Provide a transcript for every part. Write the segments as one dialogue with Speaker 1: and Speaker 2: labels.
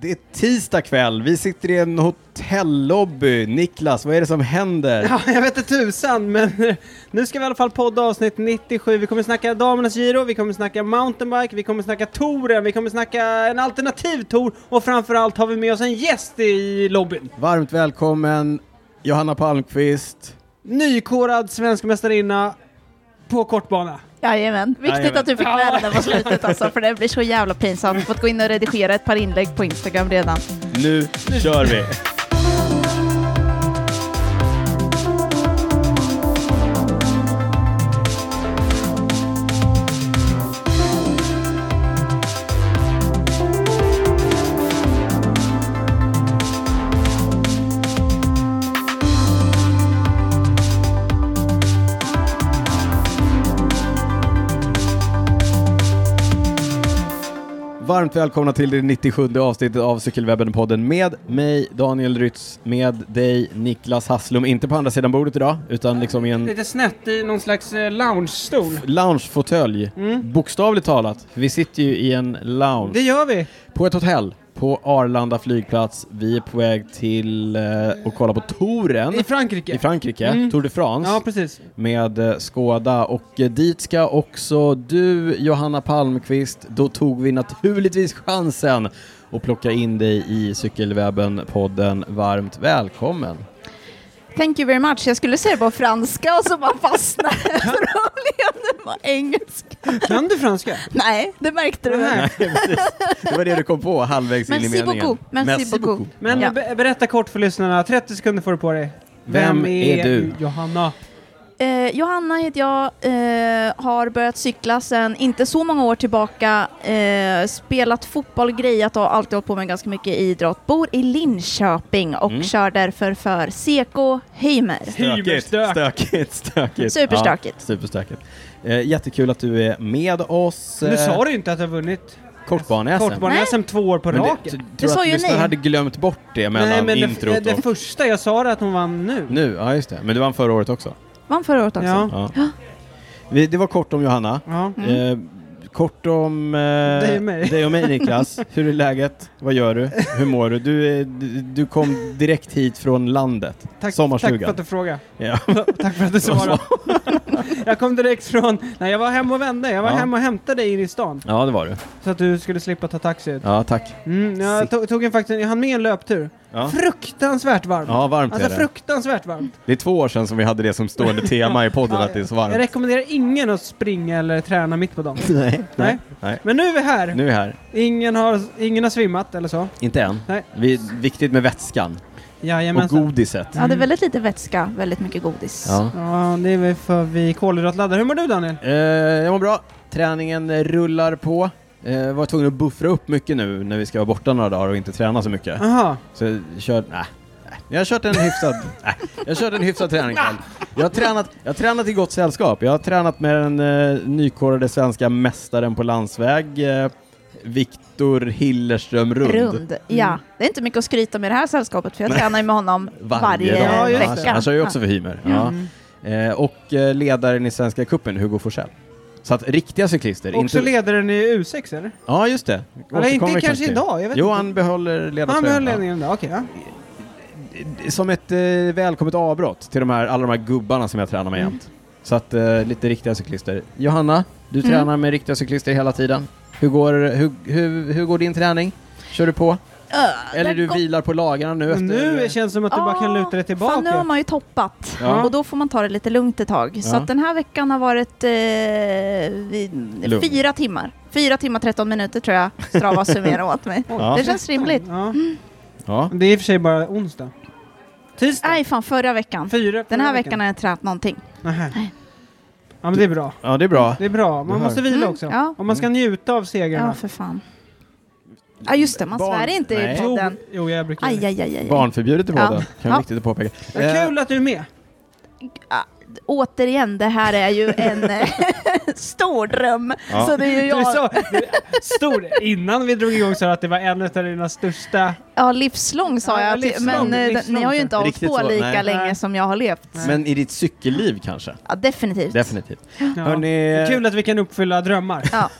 Speaker 1: Det är tisdag kväll, vi sitter i en hotellobby. Niklas, vad är det som händer?
Speaker 2: Ja, jag vet inte tusan, men nu ska vi i alla fall podda avsnitt 97. Vi kommer snacka Damernas Giro, vi kommer snacka mountainbike, vi kommer snacka touren, vi kommer snacka en alternativ tour och framförallt har vi med oss en gäst i lobbyn.
Speaker 1: Varmt välkommen Johanna Palmqvist.
Speaker 2: Nykorad svensk mästarinna på kortbana.
Speaker 3: Jajamän, viktigt
Speaker 1: Jajamän.
Speaker 3: att du fick med det där på slutet alltså, för det blir så jävla pinsamt. Fått gå in och redigera ett par inlägg på Instagram redan.
Speaker 1: Nu kör vi! Varmt välkomna till det 97 avsnittet av Cykelwebben-podden med mig Daniel Rytz, med dig Niklas Hasslum, inte på andra sidan bordet idag utan liksom i en
Speaker 2: Lite snett i någon slags eh, loungestol.
Speaker 1: loungefåtölj. Bokstavligt talat, för vi sitter ju i en lounge.
Speaker 2: Det gör Mm. vi.
Speaker 1: På ett hotell på Arlanda flygplats. Vi är på väg till eh, att kolla på touren
Speaker 2: I Frankrike.
Speaker 1: i Frankrike,
Speaker 2: Mm.
Speaker 1: Tour de France,
Speaker 2: Ja, precis.
Speaker 1: med eh, Skoda. Och eh, dit ska också du, Johanna Palmqvist. Då tog vi naturligtvis chansen att plocka in dig i Cykelwebben-podden. Varmt välkommen!
Speaker 3: Thank you very much. Jag skulle säga det på franska och så bara fastnade jag. så då blev det på engelska.
Speaker 2: Kan du franska?
Speaker 3: Nej, det märkte du väl?
Speaker 2: Nej.
Speaker 1: Det var det du kom på halvvägs in i
Speaker 3: Merci
Speaker 1: meningen.
Speaker 3: beaucoup. Merci beaucoup.
Speaker 2: Men eh,
Speaker 3: Ja.
Speaker 2: be- berätta kort för lyssnarna, 30 sekunder får du på dig.
Speaker 1: Vem är du?
Speaker 2: Johanna.
Speaker 3: Eh, Johanna heter jag, eh, har börjat cykla sedan inte så många år tillbaka, eh, spelat fotboll, grejat och alltid hållit på med ganska mycket idrott. Bor i Linköping och
Speaker 1: Mm.
Speaker 3: kör därför för Seko Heimer.
Speaker 1: Stökigt,
Speaker 2: Hymerstök.
Speaker 1: stökigt, stökigt.
Speaker 3: Superstökigt.
Speaker 1: Ja, superstökigt. Eh, jättekul att du är med oss. eh,
Speaker 2: Nu sa du ju inte att du har vunnit.
Speaker 1: Kortbane-SM.
Speaker 2: Kortbane-SM två år på
Speaker 1: Men det-
Speaker 2: raken.
Speaker 1: t-
Speaker 3: Du
Speaker 1: tror
Speaker 3: sa
Speaker 1: att
Speaker 3: ju
Speaker 1: lyssnarna
Speaker 3: nej.
Speaker 1: hade glömt bort det mellan introt
Speaker 2: det,
Speaker 1: och...
Speaker 2: det första jag sa det att hon vann nu.
Speaker 1: Nu, ja just det. Men du vann förra året också.
Speaker 3: Vann förra året också.
Speaker 2: Ja.
Speaker 1: Ja. Vi, det var kort om Johanna.
Speaker 2: ja.
Speaker 1: Eh, kort om eh,
Speaker 2: Dig och mig.
Speaker 1: dig och mig Niklas. Hur är läget? Vad gör du? Hur mår du? Du, är, du, du kom direkt hit från landet.
Speaker 2: Tack, tack
Speaker 1: Sommarstugan.
Speaker 2: för att du frågade.
Speaker 1: Ja.
Speaker 2: Tack för att du svarade. jag kom direkt från... Nej, jag var hemma och vände. Jag var
Speaker 1: Ja.
Speaker 2: hemma och hämtade dig in i stan.
Speaker 1: ja, det var du.
Speaker 2: Så att du skulle slippa ta taxi ut.
Speaker 1: Ja, tack.
Speaker 2: Mm, jag
Speaker 1: Sick.
Speaker 2: tog, tog en faktiskt... Jag hann med en löptur.
Speaker 1: Ja,
Speaker 2: Fruktansvärt varmt.
Speaker 1: ja varmt
Speaker 2: Alltså
Speaker 1: är det.
Speaker 2: fruktansvärt varmt.
Speaker 1: Det är två år sedan som vi hade det som stående tema i podden,
Speaker 2: Ja,
Speaker 1: att det är så
Speaker 2: Jag
Speaker 1: varmt.
Speaker 2: rekommenderar ingen att springa eller träna mitt på dagen.
Speaker 1: Nej.
Speaker 2: Nej.
Speaker 1: Nej.
Speaker 2: Men nu är vi här.
Speaker 1: Nu är vi här.
Speaker 2: Ingen har, ingen har svimmat eller så.
Speaker 1: Inte än.
Speaker 2: Nej.
Speaker 1: Vi, viktigt med vätskan och
Speaker 2: Jajamensan.
Speaker 1: godiset.
Speaker 3: Ja, det är väldigt lite vätska, väldigt mycket godis.
Speaker 1: Ja.
Speaker 2: Ja, det är väl för vi kolhydratladdar. Hur mår du Daniel?
Speaker 1: Eh, jag mår bra. Träningen rullar på. Eh, var tvungen att buffra upp mycket nu när vi ska vara borta några dagar och inte träna så mycket.
Speaker 2: Aha.
Speaker 1: Så jag kör... Nej. nej. Jag har kört en hyfsad, nej, jag har kört en hyfsad träning själv. Jag har, tränat, jag har tränat i gott sällskap. Jag har tränat med den eh, nykorade svenska mästaren på landsväg, eh, Viktor Hillerström Rund.
Speaker 3: Rund. Mm. Ja, det är inte mycket att skryta med i det här sällskapet för jag tränar ju med honom varje,
Speaker 1: dag.
Speaker 2: Ja, just det.
Speaker 3: vecka.
Speaker 1: Han kör ju Alltså, också för Hymer. Ja.
Speaker 2: Mm.
Speaker 1: Eh, och eh, ledaren i Svenska Cupen, Hugo Forsell. Så att riktiga cyklister...
Speaker 2: Också ledaren i U6 eller?
Speaker 1: Ja, just det.
Speaker 2: Eller
Speaker 1: Återkommer
Speaker 2: inte
Speaker 1: vi
Speaker 2: kanske
Speaker 1: till.
Speaker 2: idag, jag vet
Speaker 1: Jo,
Speaker 2: inte.
Speaker 1: han behåller
Speaker 2: Han
Speaker 1: ledartröjan.
Speaker 2: höll ledningen idag, okej. ja.
Speaker 1: Ja. Som ett eh, välkommet avbrott till de här, alla de här gubbarna som jag tränar
Speaker 2: Mm.
Speaker 1: med jämt. Så att eh, lite riktiga cyklister. Johanna, du
Speaker 3: Mm.
Speaker 1: tränar med riktiga cyklister hela tiden. Hur går, hur, hur, hur går din träning? Kör du på?
Speaker 3: Öh,
Speaker 1: Eller
Speaker 3: det
Speaker 1: du
Speaker 3: går-
Speaker 1: vilar på lagarna nu?
Speaker 2: Men
Speaker 1: Efter,
Speaker 2: Nu känns det som att du bara kan
Speaker 3: Ja,
Speaker 2: luta dig
Speaker 3: Fan, nu har
Speaker 2: tillbaka.
Speaker 3: man ju toppat
Speaker 1: Ja.
Speaker 3: och då får man ta det lite lugnt ett tag. Så
Speaker 1: Ja.
Speaker 3: att den här veckan har varit eh, vi-
Speaker 1: Lugn.
Speaker 3: fyra timmar. Fyra timmar 13 minuter tror jag Strava summerar åt mig.
Speaker 1: Ja.
Speaker 3: Det känns rimligt.
Speaker 2: Ja.
Speaker 1: Ja.
Speaker 2: Det är i och för sig bara onsdag. Tisdag?
Speaker 3: Nej, fan förra veckan.
Speaker 2: Fyra
Speaker 3: Den här veckan har jag inte tränat någonting.
Speaker 2: Nähä.
Speaker 3: Nej.
Speaker 2: Ja men det är bra.
Speaker 1: ja, det är bra.
Speaker 2: Det är bra, man
Speaker 1: Det här.
Speaker 2: måste vila
Speaker 3: Mm,
Speaker 2: också.
Speaker 3: ja.
Speaker 2: Om man ska njuta av
Speaker 3: Ja,
Speaker 2: segrarna.
Speaker 3: för fan. Ja, just det, man
Speaker 1: Barn-
Speaker 3: svär inte
Speaker 1: Nej.
Speaker 3: i
Speaker 2: Jo,
Speaker 3: podden.
Speaker 2: jo, jag brukar
Speaker 3: Aj, aj, aj, aj. aj.
Speaker 1: Barnförbjudet i
Speaker 3: Ja.
Speaker 1: båda, kan vara
Speaker 3: Ja.
Speaker 1: viktigt att påpeka.
Speaker 2: Ja, Kul att du är med!
Speaker 3: Ja, återigen, det här är ju en eh, stor dröm.
Speaker 1: Ja.
Speaker 3: Så det är ju
Speaker 2: Du
Speaker 3: jag,
Speaker 2: sa, du, stor, innan vi drog igång sa du att det var en av dina största...
Speaker 3: ja, livslång sa
Speaker 2: Ja,
Speaker 3: jag, till-
Speaker 2: livslång,
Speaker 3: men eh,
Speaker 2: livslång.
Speaker 3: ni har ju inte hållit
Speaker 1: Riktigt
Speaker 3: på
Speaker 1: så,
Speaker 3: lika
Speaker 1: nej.
Speaker 2: Nej.
Speaker 3: länge som jag har levt.
Speaker 1: Men i ditt cykelliv kanske?
Speaker 3: Ja, definitivt.
Speaker 1: Definitivt.
Speaker 2: Ja.
Speaker 1: Hörrni,
Speaker 2: Kul att vi kan uppfylla drömmar.
Speaker 3: ja.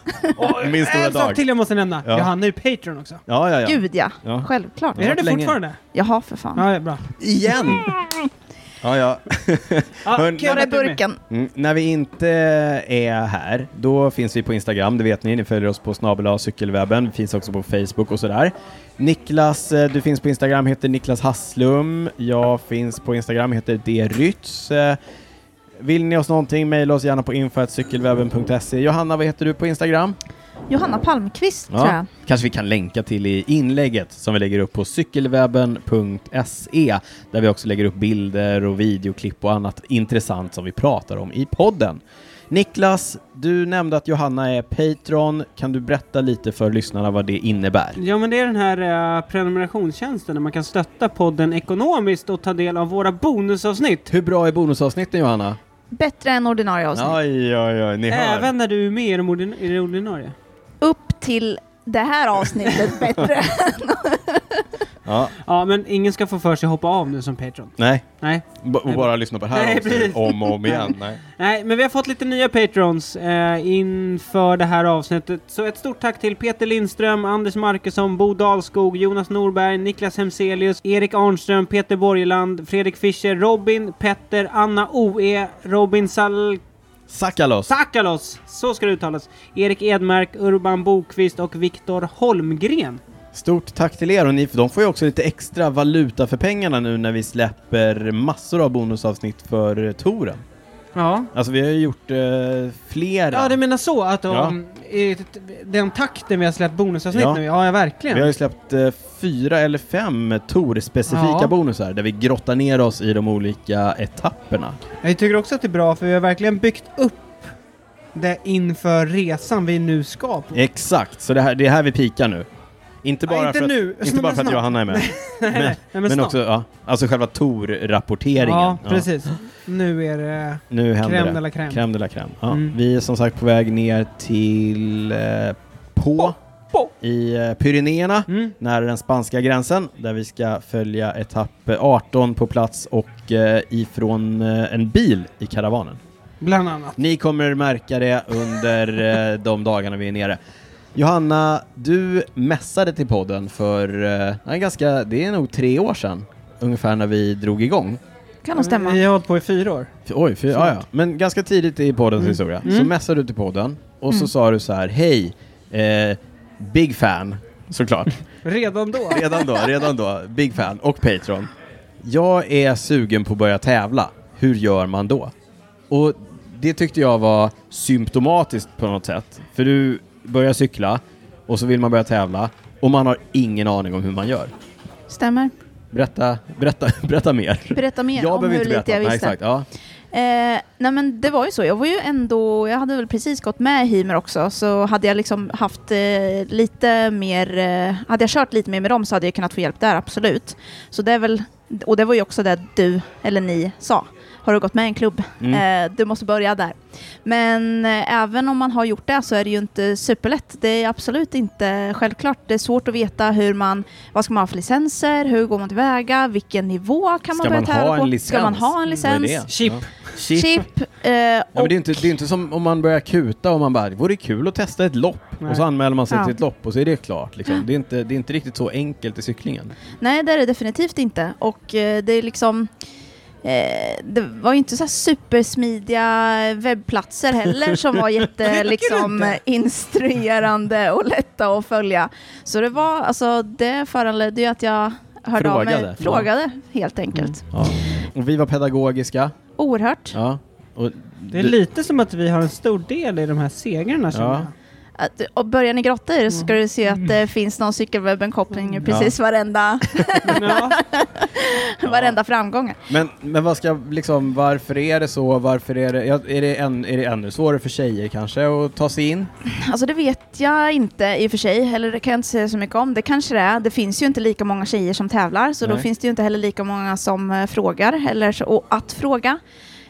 Speaker 1: eh, min stora
Speaker 2: Äh, en sak
Speaker 1: dag.
Speaker 2: till jag måste nämna.
Speaker 1: Ja.
Speaker 2: Johanna är ju Patreon också.
Speaker 1: Ja, ja, ja.
Speaker 3: Gud ja,
Speaker 1: Ja.
Speaker 3: självklart.
Speaker 1: Ja.
Speaker 2: Är det det
Speaker 1: länge.
Speaker 2: fortfarande?
Speaker 3: Jaha, för fan.
Speaker 2: Ja, ja, bra.
Speaker 1: Igen! Ja, ja.
Speaker 2: Ja,
Speaker 1: Hörn-
Speaker 2: kul
Speaker 3: Var
Speaker 2: att
Speaker 3: är
Speaker 2: du med.
Speaker 3: burken?
Speaker 1: Mm, när vi inte är här, då finns vi på Instagram, det vet ni. Ni följer oss på snabel cykelwebben. Vi finns också på Facebook och sådär. Niklas, eh, du finns på Instagram, heter Niklas Hasslum. Jag finns på Instagram, heter drytz. Eh, Vill ni oss någonting, mejla oss gärna på info.cykelwebben.se. E. Johanna, vad heter du på Instagram?
Speaker 3: Johanna Palmqvist
Speaker 1: Ja.
Speaker 3: tror jag.
Speaker 1: Kanske vi kan länka till i inlägget som vi lägger upp på cykelwebben.se där vi också lägger upp bilder och videoklipp och annat intressant som vi pratar om i podden. Niklas, du nämnde att Johanna är Patreon. Kan du berätta lite för lyssnarna vad det innebär?
Speaker 2: Ja, men det är den här eh, prenumerationstjänsten där man kan stötta podden ekonomiskt och ta del av våra bonusavsnitt.
Speaker 1: Hur bra är bonusavsnitten Johanna?
Speaker 3: Bättre än ordinarie avsnitt.
Speaker 1: Oj, oj, oj, ni hör.
Speaker 2: Även när du är med i de ordin- i det ordinarie.
Speaker 3: Upp till det här avsnittet bättre.
Speaker 1: Ja,
Speaker 2: Ja, men ingen ska få för sig att hoppa av nu som Patreon.
Speaker 1: nej,
Speaker 2: Nej.
Speaker 1: B- och bara lyssna på det här
Speaker 2: Nej,
Speaker 1: avsnittet
Speaker 2: precis.
Speaker 1: om och om igen. Nej.
Speaker 2: Nej, men vi har fått lite nya patrons eh, inför det här avsnittet. Så ett stort tack till Peter Lindström, Anders Markusson, Bo Dahlskog, Jonas Norberg, Niklas Hemselius, Erik Arnström, Peter Borgeland, Fredrik Fischer, Robin, Petter, Anna OE, Robin Sal...
Speaker 1: Sakalos!
Speaker 2: Sakalos! Så ska det uttalas. Erik Edmark, Urban Bokvist och Viktor Holmgren.
Speaker 1: Stort tack till er och ni, för de får ju också lite extra valuta för pengarna nu när vi släpper massor av bonusavsnitt för eh, touren.
Speaker 2: Ja.
Speaker 1: Alltså vi har ju gjort eh, flera.
Speaker 2: Ja, du menar så att
Speaker 1: Ja.
Speaker 2: om, i t- t- den takten vi har släppt bonusavsnitt
Speaker 1: Ja.
Speaker 2: nu, ja, ja verkligen.
Speaker 1: vi har ju släppt eh, fyra eller fem Tor-specifika
Speaker 2: Ja.
Speaker 1: bonusar där vi grottar ner oss i de olika etapperna.
Speaker 2: Jag tycker också att det är bra för vi har verkligen byggt upp det inför resan vi nu ska på.
Speaker 1: Exakt, så det, här, det är här vi pikar nu. Inte bara
Speaker 2: ja, inte
Speaker 1: för att,
Speaker 2: nu,
Speaker 1: inte bara för att
Speaker 2: snart.
Speaker 1: Johanna är med,
Speaker 2: Nej, nej,
Speaker 1: men-
Speaker 2: nej, men,
Speaker 1: men
Speaker 2: snart.
Speaker 1: också ja, alltså själva Tor-rapporteringen.
Speaker 2: Ja,
Speaker 1: Ja,
Speaker 2: precis. Nu är det
Speaker 1: Nu händer
Speaker 2: crème de
Speaker 1: det.
Speaker 2: la crème.
Speaker 1: Crème de la crème. Ja.
Speaker 2: Mm.
Speaker 1: Vi är som sagt på väg ner till eh, på,
Speaker 2: Po.
Speaker 1: i eh, Pyrenéerna.
Speaker 2: Mm.
Speaker 1: nära den spanska gränsen där vi ska följa etapp 18 på plats och eh, ifrån eh, en bil i karavanen.
Speaker 2: Bland annat.
Speaker 1: Ni kommer märka det under eh, de dagarna vi är nere. Johanna, du mässade till podden för eh, en ganska, det är nog tre år sedan ungefär när vi drog igång.
Speaker 3: Kan nog stämma.
Speaker 2: Vi har hållit på i fyra år.
Speaker 1: F- Oj, för, ja, ja. men ganska tidigt i poddens
Speaker 2: Mm.
Speaker 1: historia så
Speaker 2: Mm.
Speaker 1: mässade du till podden och så sa du så här, hej, eh, big fan såklart.
Speaker 2: Redan då.
Speaker 1: Redan då, redan då. Big fan och Patreon. Jag är sugen på att börja tävla. Hur gör man då? Och det tyckte jag var symptomatiskt på något sätt. För du börjar cykla och så vill man börja tävla och man har ingen aning om hur man gör.
Speaker 3: Stämmer.
Speaker 1: Berätta, berätta, berätta mer.
Speaker 3: Berätta mer
Speaker 1: jag
Speaker 3: om
Speaker 1: behöver inte
Speaker 3: hur lite
Speaker 1: berätta.
Speaker 3: jag
Speaker 1: Nej,
Speaker 3: visste.
Speaker 1: exakt. Ja.
Speaker 3: Eh, nej men det var ju så, jag var ju ändå, jag hade väl precis gått med i Hymer också, så hade jag liksom haft eh, lite mer, eh, hade jag kört lite mer med dem så hade jag kunnat få hjälp där, absolut. Så det är väl, och det var ju också det du, eller ni, sa. Har du gått med i en klubb?
Speaker 1: Mm.
Speaker 3: Eh, du måste börja där. Men eh, även om man har gjort det så är det ju inte superlätt. Det är absolut inte självklart. Det är svårt att veta hur man, vad ska man ha för licenser, hur går man tillväga, vilken nivå
Speaker 1: Ska
Speaker 3: kan man börja
Speaker 1: man
Speaker 3: tävla
Speaker 1: ha en
Speaker 3: på?
Speaker 1: licens?
Speaker 3: Ska man ha en
Speaker 1: Vad är
Speaker 3: licens?
Speaker 1: det?
Speaker 2: Chip.
Speaker 1: Ja. Chip.
Speaker 3: Chip. Eh,
Speaker 1: Ja, men
Speaker 3: och
Speaker 1: det, är inte, det är inte som om man börjar kuta och man bara, det vore kul att testa ett lopp.
Speaker 2: Nej.
Speaker 1: Och så anmäler man sig
Speaker 3: Ja.
Speaker 1: till ett lopp och så är det klart. Liksom. Det, är inte, det är inte riktigt så enkelt i cyklingen.
Speaker 3: nej, det är det definitivt inte. Och eh, det är liksom... Eh, det var ju inte så här supersmidiga webbplatser heller som var jätte
Speaker 2: Tycker du
Speaker 3: liksom,
Speaker 2: inte?
Speaker 3: instruerande och lätta att följa. Så det var, alltså det föranledde ju att jag hörde av
Speaker 1: Frågade. Mm.
Speaker 3: mig, frågade helt enkelt.
Speaker 1: Ja. Och vi var pedagogiska.
Speaker 3: Oerhört.
Speaker 1: Ja. Och
Speaker 2: Det är
Speaker 1: du-
Speaker 2: lite som att vi har en stor del i de här segrarna känner
Speaker 1: Ja.
Speaker 2: jag.
Speaker 3: Att, och börjar ni grotta i det
Speaker 1: Mm.
Speaker 3: så ska du se att det finns någon cykelwebben-koppling i precis varenda,
Speaker 2: Men ja.
Speaker 3: varenda framgång.
Speaker 1: Men, men vad ska, liksom, varför är det så? Varför är det, ja, är det, än, är det ännu svårare för tjejer kanske att ta sig in?
Speaker 3: Alltså det vet jag inte i och för sig, eller det kan jag inte säga så mycket om. Det kanske det är. Det finns ju inte lika många tjejer som tävlar, så då
Speaker 1: Nej.
Speaker 3: finns det ju inte heller lika många som eh, frågar, eller så, och att fråga.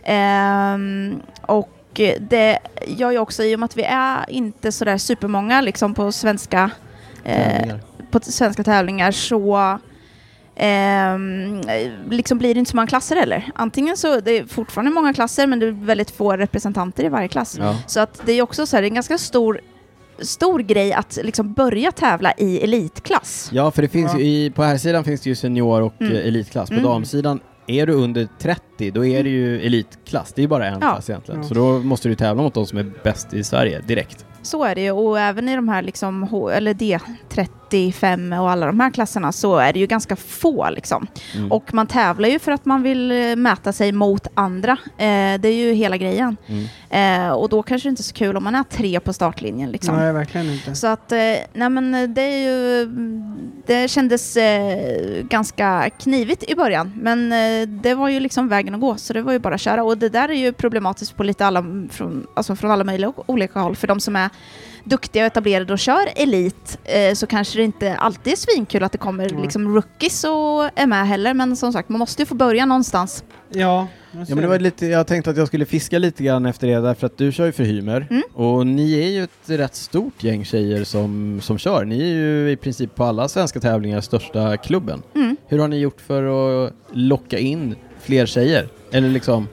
Speaker 3: Ehm, och det gör ju också, i och med att vi är inte sådär supermånga liksom på svenska eh,
Speaker 1: Tävlingar.
Speaker 3: på t- svenska tävlingar så ehm, liksom blir det inte så många klasser heller. Antingen så, det är fortfarande många klasser men det är väldigt få representanter i varje klass.
Speaker 1: Ja.
Speaker 3: Så att det är också så här, det är en ganska stor, stor grej att liksom börja tävla i elitklass.
Speaker 1: Ja, för det finns ju i, på här sidan finns det ju senior och
Speaker 3: Mm.
Speaker 1: eh, elitklass. På
Speaker 3: Mm.
Speaker 1: damsidan, är du under 30 då är det ju elitklass. Det är ju bara en
Speaker 3: Ja.
Speaker 1: klass egentligen.
Speaker 2: Ja.
Speaker 1: Så då måste du tävla mot de som är bäst i Sverige direkt.
Speaker 3: Så är det ju och även i de här liksom, H- eller D35 och alla de här klasserna så är det ju ganska få liksom.
Speaker 1: Mm.
Speaker 3: Och man tävlar ju för att man vill eh, mäta sig mot andra. Eh, det är ju hela grejen.
Speaker 1: Mm.
Speaker 3: Eh, och då kanske det inte är så kul om man är tre på startlinjen. Liksom.
Speaker 2: Nej, verkligen inte.
Speaker 3: Så att, eh, nej men eh, det är ju, mm, det kändes eh, ganska knivigt i början. Men eh, det var ju liksom vägen att gå, så det var ju bara att köra. Och det där är ju problematiskt på lite alla, från, alltså från alla möjliga o- olika håll. För de som är duktiga och etablerade och kör elit eh, så kanske det inte alltid är svinkul att det kommer
Speaker 2: Nej.
Speaker 3: liksom rookies och är med heller. Men som sagt, man måste ju få börja någonstans.
Speaker 2: Ja,
Speaker 1: Ja, men det var lite, jag tänkte att jag skulle fiska lite grann efter det därför att du kör ju för Hymer
Speaker 3: Mm.
Speaker 1: och ni är ju ett rätt stort gäng tjejer som, som kör. Ni är ju i princip på alla svenska tävlingar största klubben.
Speaker 3: Mm.
Speaker 1: Hur har ni gjort för att locka in fler tjejer? Eller liksom,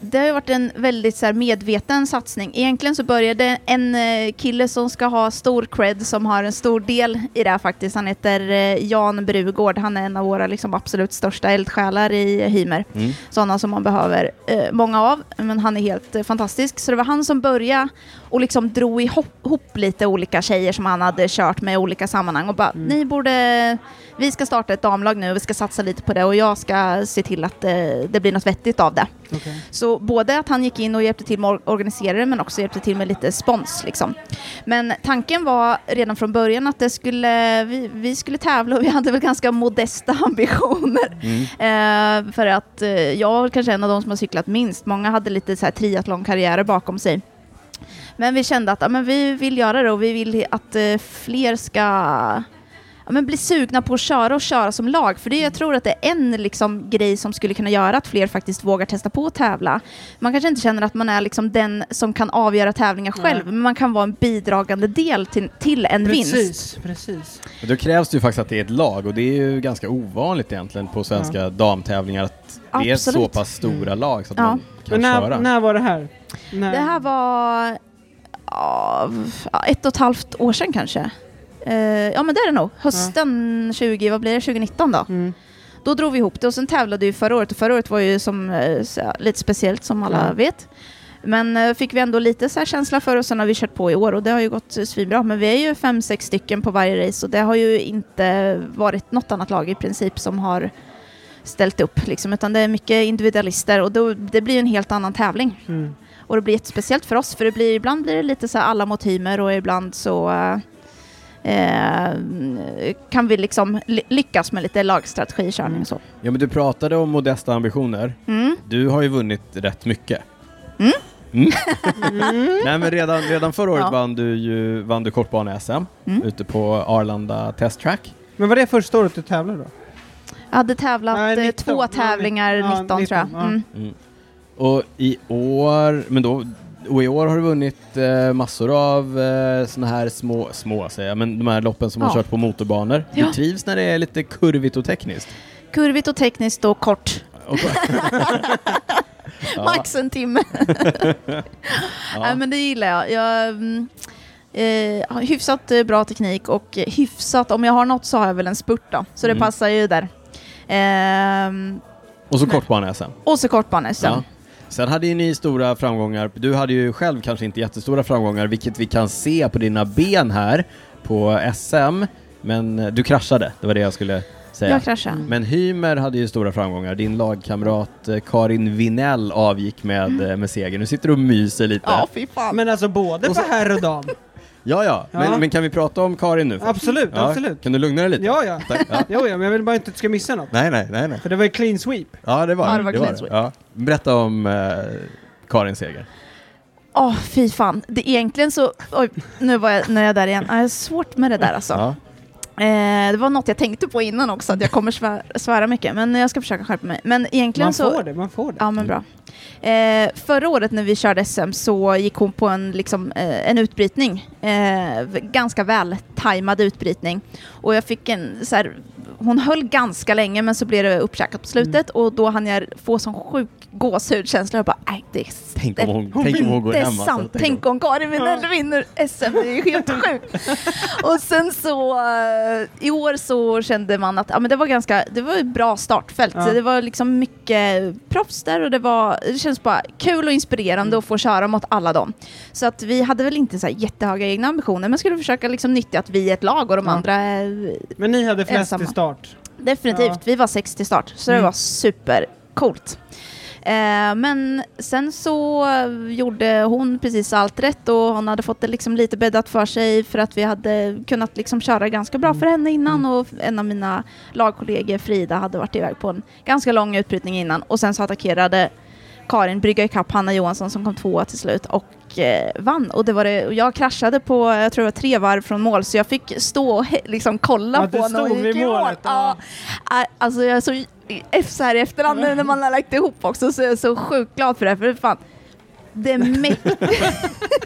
Speaker 3: Det har ju varit en väldigt så här, medveten satsning. Egentligen så började en eh, kille som ska ha stor cred, som har en stor del i det här faktiskt. Han heter eh, Jan Brugård. Han är en av våra liksom, absolut största eldsjälar i Hymer.
Speaker 1: mm.
Speaker 3: Sådana som man behöver eh, många av, men han är helt eh, fantastisk. Så det var han som började och liksom drog ihop, ihop lite olika tjejer som han hade kört med i olika sammanhang och bara, ni borde, vi ska starta ett damlag nu och vi ska satsa lite på det och jag ska se till att eh, det blir något vettigt av det.
Speaker 2: Okej.
Speaker 3: Så både att han gick in och hjälpte till med att organisera det men också hjälpte till med lite spons. Liksom. Men tanken var redan från början att det skulle, vi, vi skulle tävla och vi hade väl ganska modesta ambitioner.
Speaker 1: Mm.
Speaker 3: Eh, för att eh, jag var väl kanske en av de som har cyklat minst. Många hade lite så här triathlonkarriärer bakom sig. Men vi kände att ja, men vi vill göra det och vi vill att eh, fler ska ja, men bli sugna på att köra och köra som lag. För det, jag tror att det är en liksom, grej som skulle kunna göra att fler faktiskt vågar testa på att tävla. Man kanske inte känner att man är liksom, den som kan avgöra tävlingar själv, men man kan vara en bidragande del till, till en vinst.
Speaker 2: Precis, precis.
Speaker 1: Och Då krävs det ju faktiskt att det är ett lag och det är ju ganska ovanligt egentligen på svenska damtävlingar att det är så
Speaker 3: Absolut. Mm.
Speaker 1: pass stora lag så att
Speaker 3: Ja.
Speaker 1: man kan
Speaker 2: Men när,
Speaker 1: köra.
Speaker 2: när var det här? När?
Speaker 3: Det här var ja, ett och ett halvt år sedan kanske. Eh, ja men det är det nog. Hösten 20, vad blir det, 2019 då?
Speaker 2: Mm.
Speaker 3: Då drog vi ihop det och sen tävlade vi förra året och förra året var ju som, eh, så här, lite speciellt som alla
Speaker 2: Mm.
Speaker 3: vet. Men eh, fick vi ändå lite så här känsla för och sen har vi kört på i år och det har ju gått eh, svinbra. Men vi är ju fem, sex stycken på varje race och det har ju inte varit något annat lag i princip som har ställt upp liksom, utan det är mycket individualister och då, det blir ju en helt annan tävling.
Speaker 2: Mm.
Speaker 3: Och det blir jättespeciellt för oss, för det blir, ibland blir det lite så här alla mot Hymer och ibland så eh, eh, kan vi liksom ly- lyckas med lite lagstrategi, körning och så.
Speaker 1: Ja men du pratade om modesta ambitioner.
Speaker 3: Mm.
Speaker 1: Du har ju vunnit rätt mycket.
Speaker 3: Mm.
Speaker 1: Mm. Nej men redan, redan förra året
Speaker 3: Ja.
Speaker 1: vann du ju vann du kortbane-SM
Speaker 3: Mm.
Speaker 1: ute på Arlanda Test Track.
Speaker 2: Men var det första året du tävlade då?
Speaker 3: Jag hade tävlat
Speaker 2: Nej,
Speaker 3: eh,
Speaker 2: 19.
Speaker 3: två tävlingar,
Speaker 2: Ja,
Speaker 3: 19, tror jag.
Speaker 2: 19, ja.
Speaker 3: Mm.
Speaker 1: Och i år, men då, och i år har du vunnit eh, massor av eh, såna här små, små säger jag, men de här loppen som har
Speaker 3: Ja.
Speaker 1: kört på motorbanor.
Speaker 3: Ja.
Speaker 1: Du trivs när det är lite kurvigt och tekniskt?
Speaker 3: Kurvigt och tekniskt och kort,
Speaker 1: Och, ja,
Speaker 3: max en timme. Nej,
Speaker 1: ja.
Speaker 3: men det gillar jag. jag mm, eh, har hyfsat eh, bra teknik och hyfsat, om jag har något så har jag väl en spurt då, så det
Speaker 1: Mm.
Speaker 3: passar ju där. Ehm,
Speaker 1: Och så kortbane-SM.
Speaker 3: och så kortbane sen.
Speaker 1: Ja. Sen hade ju ni stora framgångar. Du hade ju själv kanske inte jättestora framgångar, vilket vi kan se på dina ben här på SM. Men eh, du kraschade, det var det jag Mm. skulle säga.
Speaker 3: Jag kraschade.
Speaker 1: Men Hymer hade ju stora framgångar. Din lagkamrat eh, Karin Vinell avgick med, eh, med seger. Nu sitter du och myser lite.
Speaker 3: Mm. Ja, fy fan.
Speaker 2: Men alltså både
Speaker 1: Och så-
Speaker 2: på herr och dam?
Speaker 1: ja. ja. Men,
Speaker 2: Ja.
Speaker 1: men kan vi prata om Karin nu? först?
Speaker 2: Absolut,
Speaker 1: Ja.
Speaker 2: absolut.
Speaker 1: Kan du lugna dig lite?
Speaker 2: Ja, ja.
Speaker 1: Tack. Ja.
Speaker 2: Jo, ja, men jag vill bara inte att du ska missa något.
Speaker 1: Nej, nej, nej, nej.
Speaker 2: För det var ju clean sweep.
Speaker 1: Ja, det var
Speaker 3: Ja, det var clean sweep.
Speaker 1: Ja. Berätta om eh, Karins seger.
Speaker 3: Åh, fy fan. Det, egentligen så... Oj, nu var jag, nu är jag där igen. Ah, Jag har svårt med det där alltså.
Speaker 1: Ja.
Speaker 3: Eh, det var något jag tänkte på innan också, att jag kommer svär, svära mycket, men jag ska försöka skärpa mig. Men egentligen
Speaker 2: Man
Speaker 3: så...
Speaker 2: får det, man får det.
Speaker 3: Ja, men bra. Eh, förra året när vi körde SM så gick hon på en, liksom, eh, en utbrytning, eh, v- ganska vältajmad utbrytning. Och jag fick en, så här, hon höll ganska länge men så blev det uppkäkat på slutet och då hann jag få sån sjuk gåshudkänsla. Jag bara, nej det är
Speaker 1: Tänk om hon, tänk om hon går
Speaker 3: det är
Speaker 1: hem. alltså.
Speaker 3: sant. Tänk om Karin Winell vinner SM, det är ju helt sjukt. Och sen så eh, i år så kände man att ja, men det var ganska, det var ett bra startfält.
Speaker 2: Ja.
Speaker 3: Det var liksom mycket proffs där och det var, det känns bara kul och
Speaker 2: Mm.
Speaker 3: inspirerande att få köra mot alla dem. Så att vi hade väl inte så här jättehöga egna ambitioner men skulle försöka liksom nyttja att vi är ett lag och de
Speaker 2: Ja.
Speaker 3: andra är
Speaker 2: Men ni hade flest
Speaker 3: Ensamma.
Speaker 2: i start.
Speaker 3: Definitivt,
Speaker 2: Ja.
Speaker 3: vi var sex till start, så
Speaker 2: Mm.
Speaker 3: det var supercoolt. Eh, men sen så gjorde hon precis allt rätt och hon hade fått det liksom lite bäddat för sig för att vi hade kunnat liksom köra ganska
Speaker 2: Mm.
Speaker 3: bra för henne innan och en av mina lagkollegor Frida hade varit iväg på en ganska lång utbrytning innan och sen så attackerade Karin brygga ikapp Hanna Johansson som kom tvåa till slut och eh, vann. Och det var det, och jag kraschade på, jag tror det var tre varv från mål så jag fick stå och he- liksom kolla
Speaker 2: Ja,
Speaker 3: på
Speaker 2: du
Speaker 3: när hon
Speaker 2: stod
Speaker 3: gick
Speaker 2: vid
Speaker 3: i mål.
Speaker 2: målet, ja.
Speaker 3: Ja. Nej, Alltså jag är så, i- i- så här i efterhand nu när man har lagt ihop också så är jag så sjukt glad för det här, för fan det mäkt-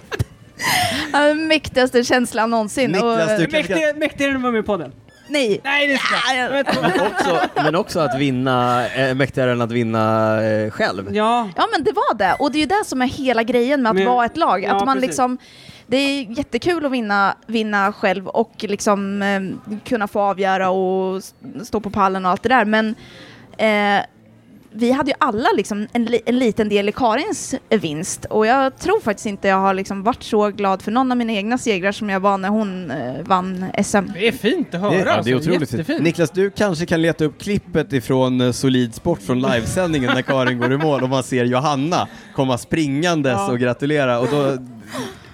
Speaker 3: Ja, den mäktigaste känslan någonsin.
Speaker 1: Niklas,
Speaker 3: och,
Speaker 1: du-
Speaker 2: Mäktigare mäktigare än att vara med på den.
Speaker 3: nej.
Speaker 2: Nej, det ska.
Speaker 3: Ah, jag-
Speaker 1: Men också, men också att vinna, eh, mäktigare än att vinna eh, själv.
Speaker 2: Ja,
Speaker 3: Ja men det var det och det är ju det som är hela grejen med att
Speaker 2: Men-
Speaker 3: vara ett lag.
Speaker 2: ja,
Speaker 3: att man
Speaker 2: precis.
Speaker 3: liksom, det är jättekul att vinna, vinna själv och liksom, eh, kunna få avgöra och s- stå på pallen och allt det där men eh, vi hade ju alla liksom en, li- en liten del i Karins eh, vinst och jag tror faktiskt inte jag har liksom varit så glad för någon av mina egna segrar som jag var när hon eh, vann SM.
Speaker 2: det är fint att höra.
Speaker 1: Det, ja, det är
Speaker 2: alltså.
Speaker 1: otroligt
Speaker 2: Jättefint.
Speaker 1: fint. Niklas, du kanske kan leta upp klippet ifrån eh, Solid Sport från livesändningen när Karin går i mål och man ser Johanna komma springandes
Speaker 2: Ja.
Speaker 1: och gratulera och då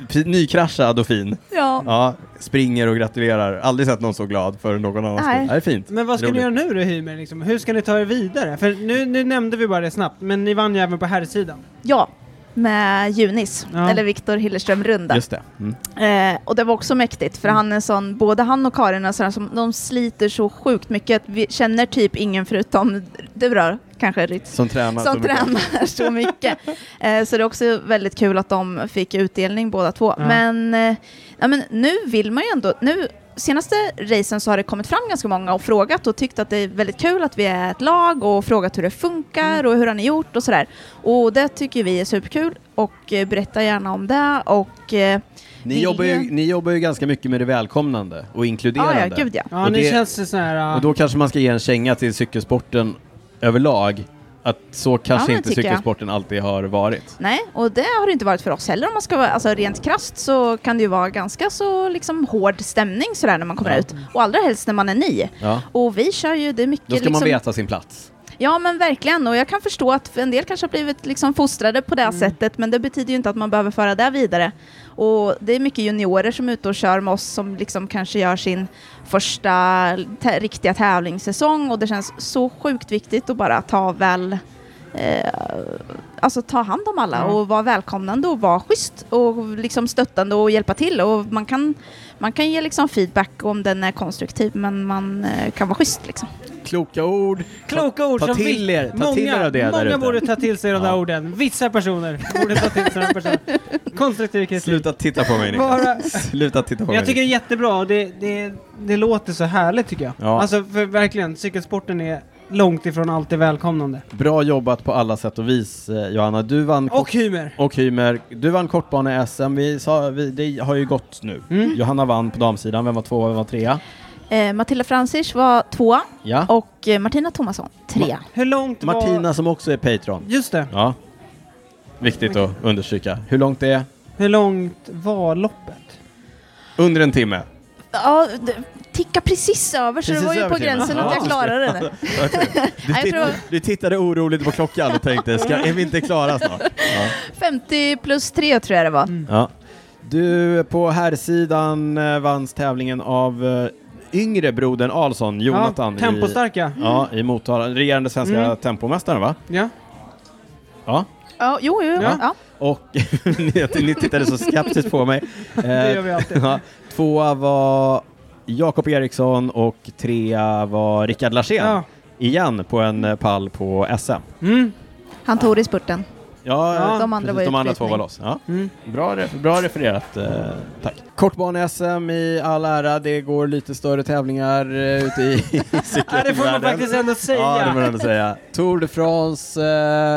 Speaker 1: fi- nykraschad och fin.
Speaker 3: Ja.
Speaker 1: Ja, springer och gratulerar. Aldrig sett någon så glad för någon annan
Speaker 3: Nej.
Speaker 1: skull. Det är fint.
Speaker 2: Men vad ska ni
Speaker 1: Roligt.
Speaker 2: göra nu då Hymer? Liksom? Hur ska ni ta er vidare? För nu, nu nämnde vi bara det snabbt, men ni vann ju även på herrsidan.
Speaker 3: ja, med Junis,
Speaker 2: Ja.
Speaker 3: eller Viktor Hilleström Runda.
Speaker 1: Just det. Mm.
Speaker 3: Eh, och det var också mäktigt för han är sån, både han och Karin är sådana som de sliter så sjukt mycket att vi känner typ ingen förutom du då, kanske Ritz,
Speaker 1: Som tränar så
Speaker 3: som
Speaker 1: mycket.
Speaker 3: tränar så mycket. Eh, så det är också väldigt kul att de fick utdelning båda två.
Speaker 2: Ja.
Speaker 3: Men, eh, ja, men nu vill man ju ändå, nu senaste racen så har det kommit fram ganska många och frågat och tyckt att det är väldigt kul att vi är ett lag och frågat hur det funkar
Speaker 1: Mm.
Speaker 3: och hur har ni gjort och sådär. Och det tycker vi är superkul och eh, berätta gärna om det och eh,
Speaker 1: Ni
Speaker 3: Det är
Speaker 1: jobbar, ju,
Speaker 3: ju-
Speaker 1: ni jobbar ju ganska mycket med det välkomnande och inkluderande.
Speaker 3: Ja, ja, gud ja.
Speaker 2: Ja,
Speaker 1: Och
Speaker 2: ni
Speaker 1: det-
Speaker 2: känns så här...
Speaker 1: Och då kanske man ska ge en känga till cykelsporten överlag. Att så kanske
Speaker 3: men
Speaker 1: inte
Speaker 3: tycker jag.
Speaker 1: cykelsporten alltid har varit.
Speaker 3: Nej, och det har det inte varit för oss heller. Om man ska vara, alltså rent krasst så kan det ju vara ganska så liksom hård stämning sådär när man kommer
Speaker 1: Ja.
Speaker 3: ut. Och allra helst när man är ny.
Speaker 1: Ja.
Speaker 3: Och vi kör ju, det är mycket
Speaker 1: Då ska
Speaker 3: liksom...
Speaker 1: man veta sin plats.
Speaker 3: Ja men verkligen, och jag kan förstå att en del kanske har blivit liksom fostrade på det sättet men det betyder ju inte att man behöver föra det vidare. Och det är mycket juniorer som är ute och kör med oss som liksom kanske gör sin första tä- riktiga tävlingssäsong och det känns så sjukt viktigt att bara ta väl Eh, alltså ta hand om alla
Speaker 2: Ja.
Speaker 3: och vara välkomnande och vara schysst och liksom stöttande och hjälpa till och man kan, man kan ge liksom feedback om den är konstruktiv men man eh, kan vara schysst liksom.
Speaker 1: Kloka ord.
Speaker 2: Kloka ord
Speaker 1: ta
Speaker 2: som
Speaker 1: till
Speaker 2: vi-
Speaker 1: er- ta
Speaker 2: många,
Speaker 1: till er av det där
Speaker 2: Många
Speaker 1: ute.
Speaker 2: borde ta till sig de där
Speaker 1: Ja.
Speaker 2: orden. Vissa personer borde ta till sig de personerna. Konstruktiv kritik.
Speaker 1: Sluta titta på mig
Speaker 2: Bara-
Speaker 1: Niklas. Sluta titta på
Speaker 2: Men
Speaker 1: mig.
Speaker 2: jag tycker det är jättebra och det, det, det låter så härligt tycker jag.
Speaker 1: Ja.
Speaker 2: Alltså för verkligen, cykelsporten är långt ifrån alltid välkomnande.
Speaker 1: Bra jobbat på alla sätt och vis eh, Johanna. Du vann
Speaker 2: Och humor!
Speaker 1: och Hymer, du vann kortbane-SM. Vi sa, vi, det har ju gått nu.
Speaker 2: Mm.
Speaker 1: Johanna vann på damsidan. Vem var tvåa? Vem var trea?
Speaker 3: Eh, Matilda Francis var tvåa
Speaker 1: Ja.
Speaker 3: och eh, Martina Thomasson trea.
Speaker 2: Hur långt var...
Speaker 1: Martina som också är Patreon.
Speaker 2: Just det.
Speaker 1: Ja. Viktigt att understryka. Hur långt det är?
Speaker 2: Hur långt var loppet?
Speaker 1: Under en timme.
Speaker 3: Ja, det ticka precis över så
Speaker 1: Precis
Speaker 3: det var ju
Speaker 1: över
Speaker 3: på
Speaker 1: timmen.
Speaker 3: gränsen
Speaker 1: Ja.
Speaker 3: att jag klarade det.
Speaker 1: Du,
Speaker 3: Nej, jag
Speaker 1: titt-
Speaker 3: tror-
Speaker 1: du tittade oroligt på klockan och tänkte, ska, är vi inte klara snart? Ja.
Speaker 3: 50 plus tre tror jag det var.
Speaker 1: Ja. Du, på här sidan eh, vanns tävlingen av eh, yngre brodern Alsson, Jonathan.
Speaker 2: Ja,
Speaker 1: i-
Speaker 2: tempostarka.
Speaker 1: Ja, i Motala. Regerande svenska
Speaker 2: Mm.
Speaker 1: tempomästaren va?
Speaker 2: Ja.
Speaker 1: Ja.
Speaker 3: Ja, jo, jo, jo.
Speaker 2: Ja.
Speaker 3: Ja.
Speaker 1: Och ni, ni tittade så skeptiskt på mig.
Speaker 2: Det gör vi alltid.
Speaker 1: ja. Tvåa var Jakob Eriksson och trea var Rickard Larsén.
Speaker 2: Ja.
Speaker 1: Igen på en eh, pall på SM.
Speaker 2: Mm.
Speaker 3: Han tog det i spurten.
Speaker 1: Ja, eh,
Speaker 2: Ja,
Speaker 3: de andra
Speaker 1: precis,
Speaker 3: var i
Speaker 1: de andra två
Speaker 3: utbrytning.
Speaker 1: var loss. Ja.
Speaker 2: Mm.
Speaker 1: Bra, re- bra refererat, eh, tack. Kortbane-SM i all ära, det går lite större tävlingar eh, ute i
Speaker 2: Ja, det får man
Speaker 1: cykelvärlden.
Speaker 2: faktiskt ändå säga.
Speaker 1: Ja, det får man ändå säga. Tour de France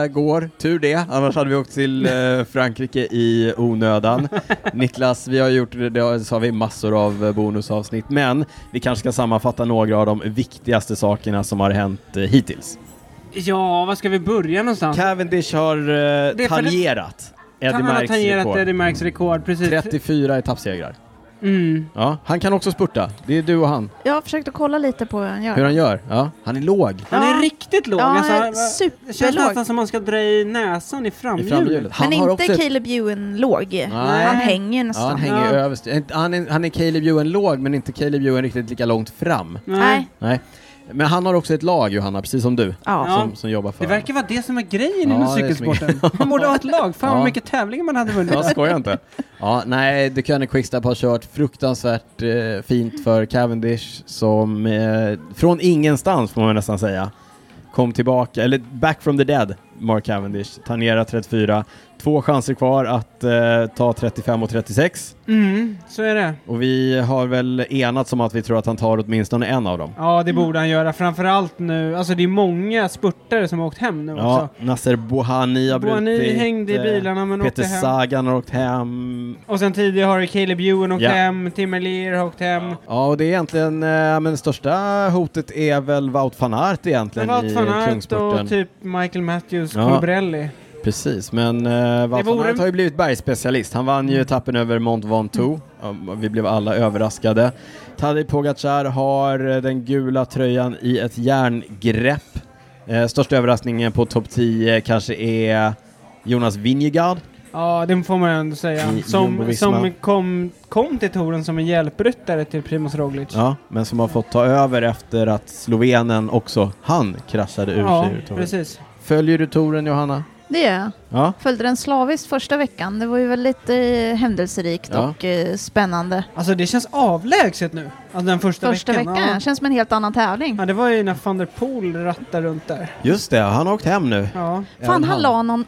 Speaker 1: eh, går, tur det, annars hade vi åkt till eh, Frankrike i onödan. Niklas, vi har gjort, det har- sa vi, massor av eh, bonusavsnitt, men vi kanske ska sammanfatta några av de viktigaste sakerna som har hänt eh, hittills.
Speaker 2: ja, var ska vi börja någonstans?
Speaker 1: Cavendish har eh,
Speaker 2: det-
Speaker 1: tangerat Eddie
Speaker 2: Han har
Speaker 1: Merckx
Speaker 2: tangerat
Speaker 1: rekord.
Speaker 2: Eddie Merckx rekord, precis.
Speaker 1: 34 etappsegrar.
Speaker 2: Mm.
Speaker 1: Ja, han kan också spurta. Det är du och han.
Speaker 3: Jag har försökt att kolla lite på hur han gör.
Speaker 1: Hur han gör. Ja, han är låg
Speaker 2: Han är
Speaker 3: Ja.
Speaker 2: riktigt låg.
Speaker 3: Ja,
Speaker 2: alltså,
Speaker 3: han är
Speaker 2: han- det känns
Speaker 3: superlåg.
Speaker 2: nästan som man ska dra i näsan i
Speaker 1: i
Speaker 2: framhjulet.
Speaker 1: framhjulet. Han
Speaker 3: Men
Speaker 1: har
Speaker 3: inte
Speaker 1: också ett-
Speaker 3: Caleb Ewan låg. Han hänger
Speaker 1: Ja,
Speaker 3: nästan.
Speaker 1: han hänger
Speaker 2: Ja.
Speaker 1: överst. Han är, han är Caleb Ewan låg, men inte Caleb Ewan riktigt lika långt fram.
Speaker 3: Nej.
Speaker 1: Nej. Men han har också ett lag, Johanna, precis som du,
Speaker 3: Ja.
Speaker 2: Ja.
Speaker 1: som, som jobbar för
Speaker 2: Det verkar vara det som är grejen
Speaker 1: Ja,
Speaker 2: inom
Speaker 1: det är som är-
Speaker 2: cykelsporten. Man borde ha ett lag. Fan
Speaker 1: Ja.
Speaker 2: vad mycket tävlingar man hade vunnit.
Speaker 1: honom. Jag skojar inte. Ja, nej, The König Quickstep har kört fruktansvärt eh, fint för Cavendish som eh, från ingenstans, får man nästan säga, kom tillbaka, eller back from the dead, Mark Cavendish, tangerar 34. Två chanser kvar att eh, ta 35 och 36.
Speaker 2: Mm, så är det.
Speaker 1: Och vi har väl enats om att vi tror att han tar åtminstone en av dem.
Speaker 2: Ja, det borde han göra. Framförallt nu. Alltså det är många spurtare som har åkt hem nu
Speaker 1: Ja,
Speaker 2: också.
Speaker 1: Nasser Bohani har
Speaker 2: Boani
Speaker 1: brutit.
Speaker 2: hängde i
Speaker 1: eh,
Speaker 2: bilarna men
Speaker 1: Peter
Speaker 2: åkte hem.
Speaker 1: Sagan har åkt hem.
Speaker 2: Och sen tidigare har Caleb Ewan åkt
Speaker 1: Ja.
Speaker 2: hem, Tim Elier har åkt hem.
Speaker 1: Ja, och det är egentligen, eh, men det största hotet är väl Wout van Aert egentligen
Speaker 2: Wout van
Speaker 1: i
Speaker 2: Aert
Speaker 1: Kungsporten.
Speaker 2: och typ Michael Matthews,
Speaker 1: Ja.
Speaker 2: Colbrelli.
Speaker 1: Precis, men eh, Wout van
Speaker 2: vore-
Speaker 1: Aert har ju blivit bergsspecialist. Han vann
Speaker 2: Mm.
Speaker 1: ju etappen över Mont Ventoux. Ja, Vi blev alla överraskade. Tadej Pogacar har eh, den gula tröjan i ett järngrepp. Eh, största överraskningen på topp 10 kanske är Jonas Vingegaard.
Speaker 2: Ja, det får man ändå säga.
Speaker 1: I
Speaker 2: Som,
Speaker 1: Jumbo-Visma.
Speaker 2: som kom, kom till touren som en hjälpryttare till Primoz Roglic.
Speaker 1: Ja, men som har fått ta över efter att slovenen också, han kraschade ur
Speaker 2: Ja,
Speaker 1: sig ur touren.
Speaker 2: precis.
Speaker 1: Följer du touren Johanna?
Speaker 3: Det gör jag.
Speaker 1: Ja.
Speaker 3: Följde den slaviskt första veckan. Det var ju väldigt eh, händelserikt
Speaker 1: Ja.
Speaker 3: och eh, spännande.
Speaker 2: Alltså det känns avlägset nu. Alltså den första,
Speaker 3: Första veckan,
Speaker 2: Ja.
Speaker 3: känns som en helt annan tävling.
Speaker 2: ja, det var ju när van der Poel rattade runt där.
Speaker 1: Just det, han har åkt hem nu.
Speaker 2: Ja.
Speaker 3: Fan,
Speaker 1: Även
Speaker 3: han la någon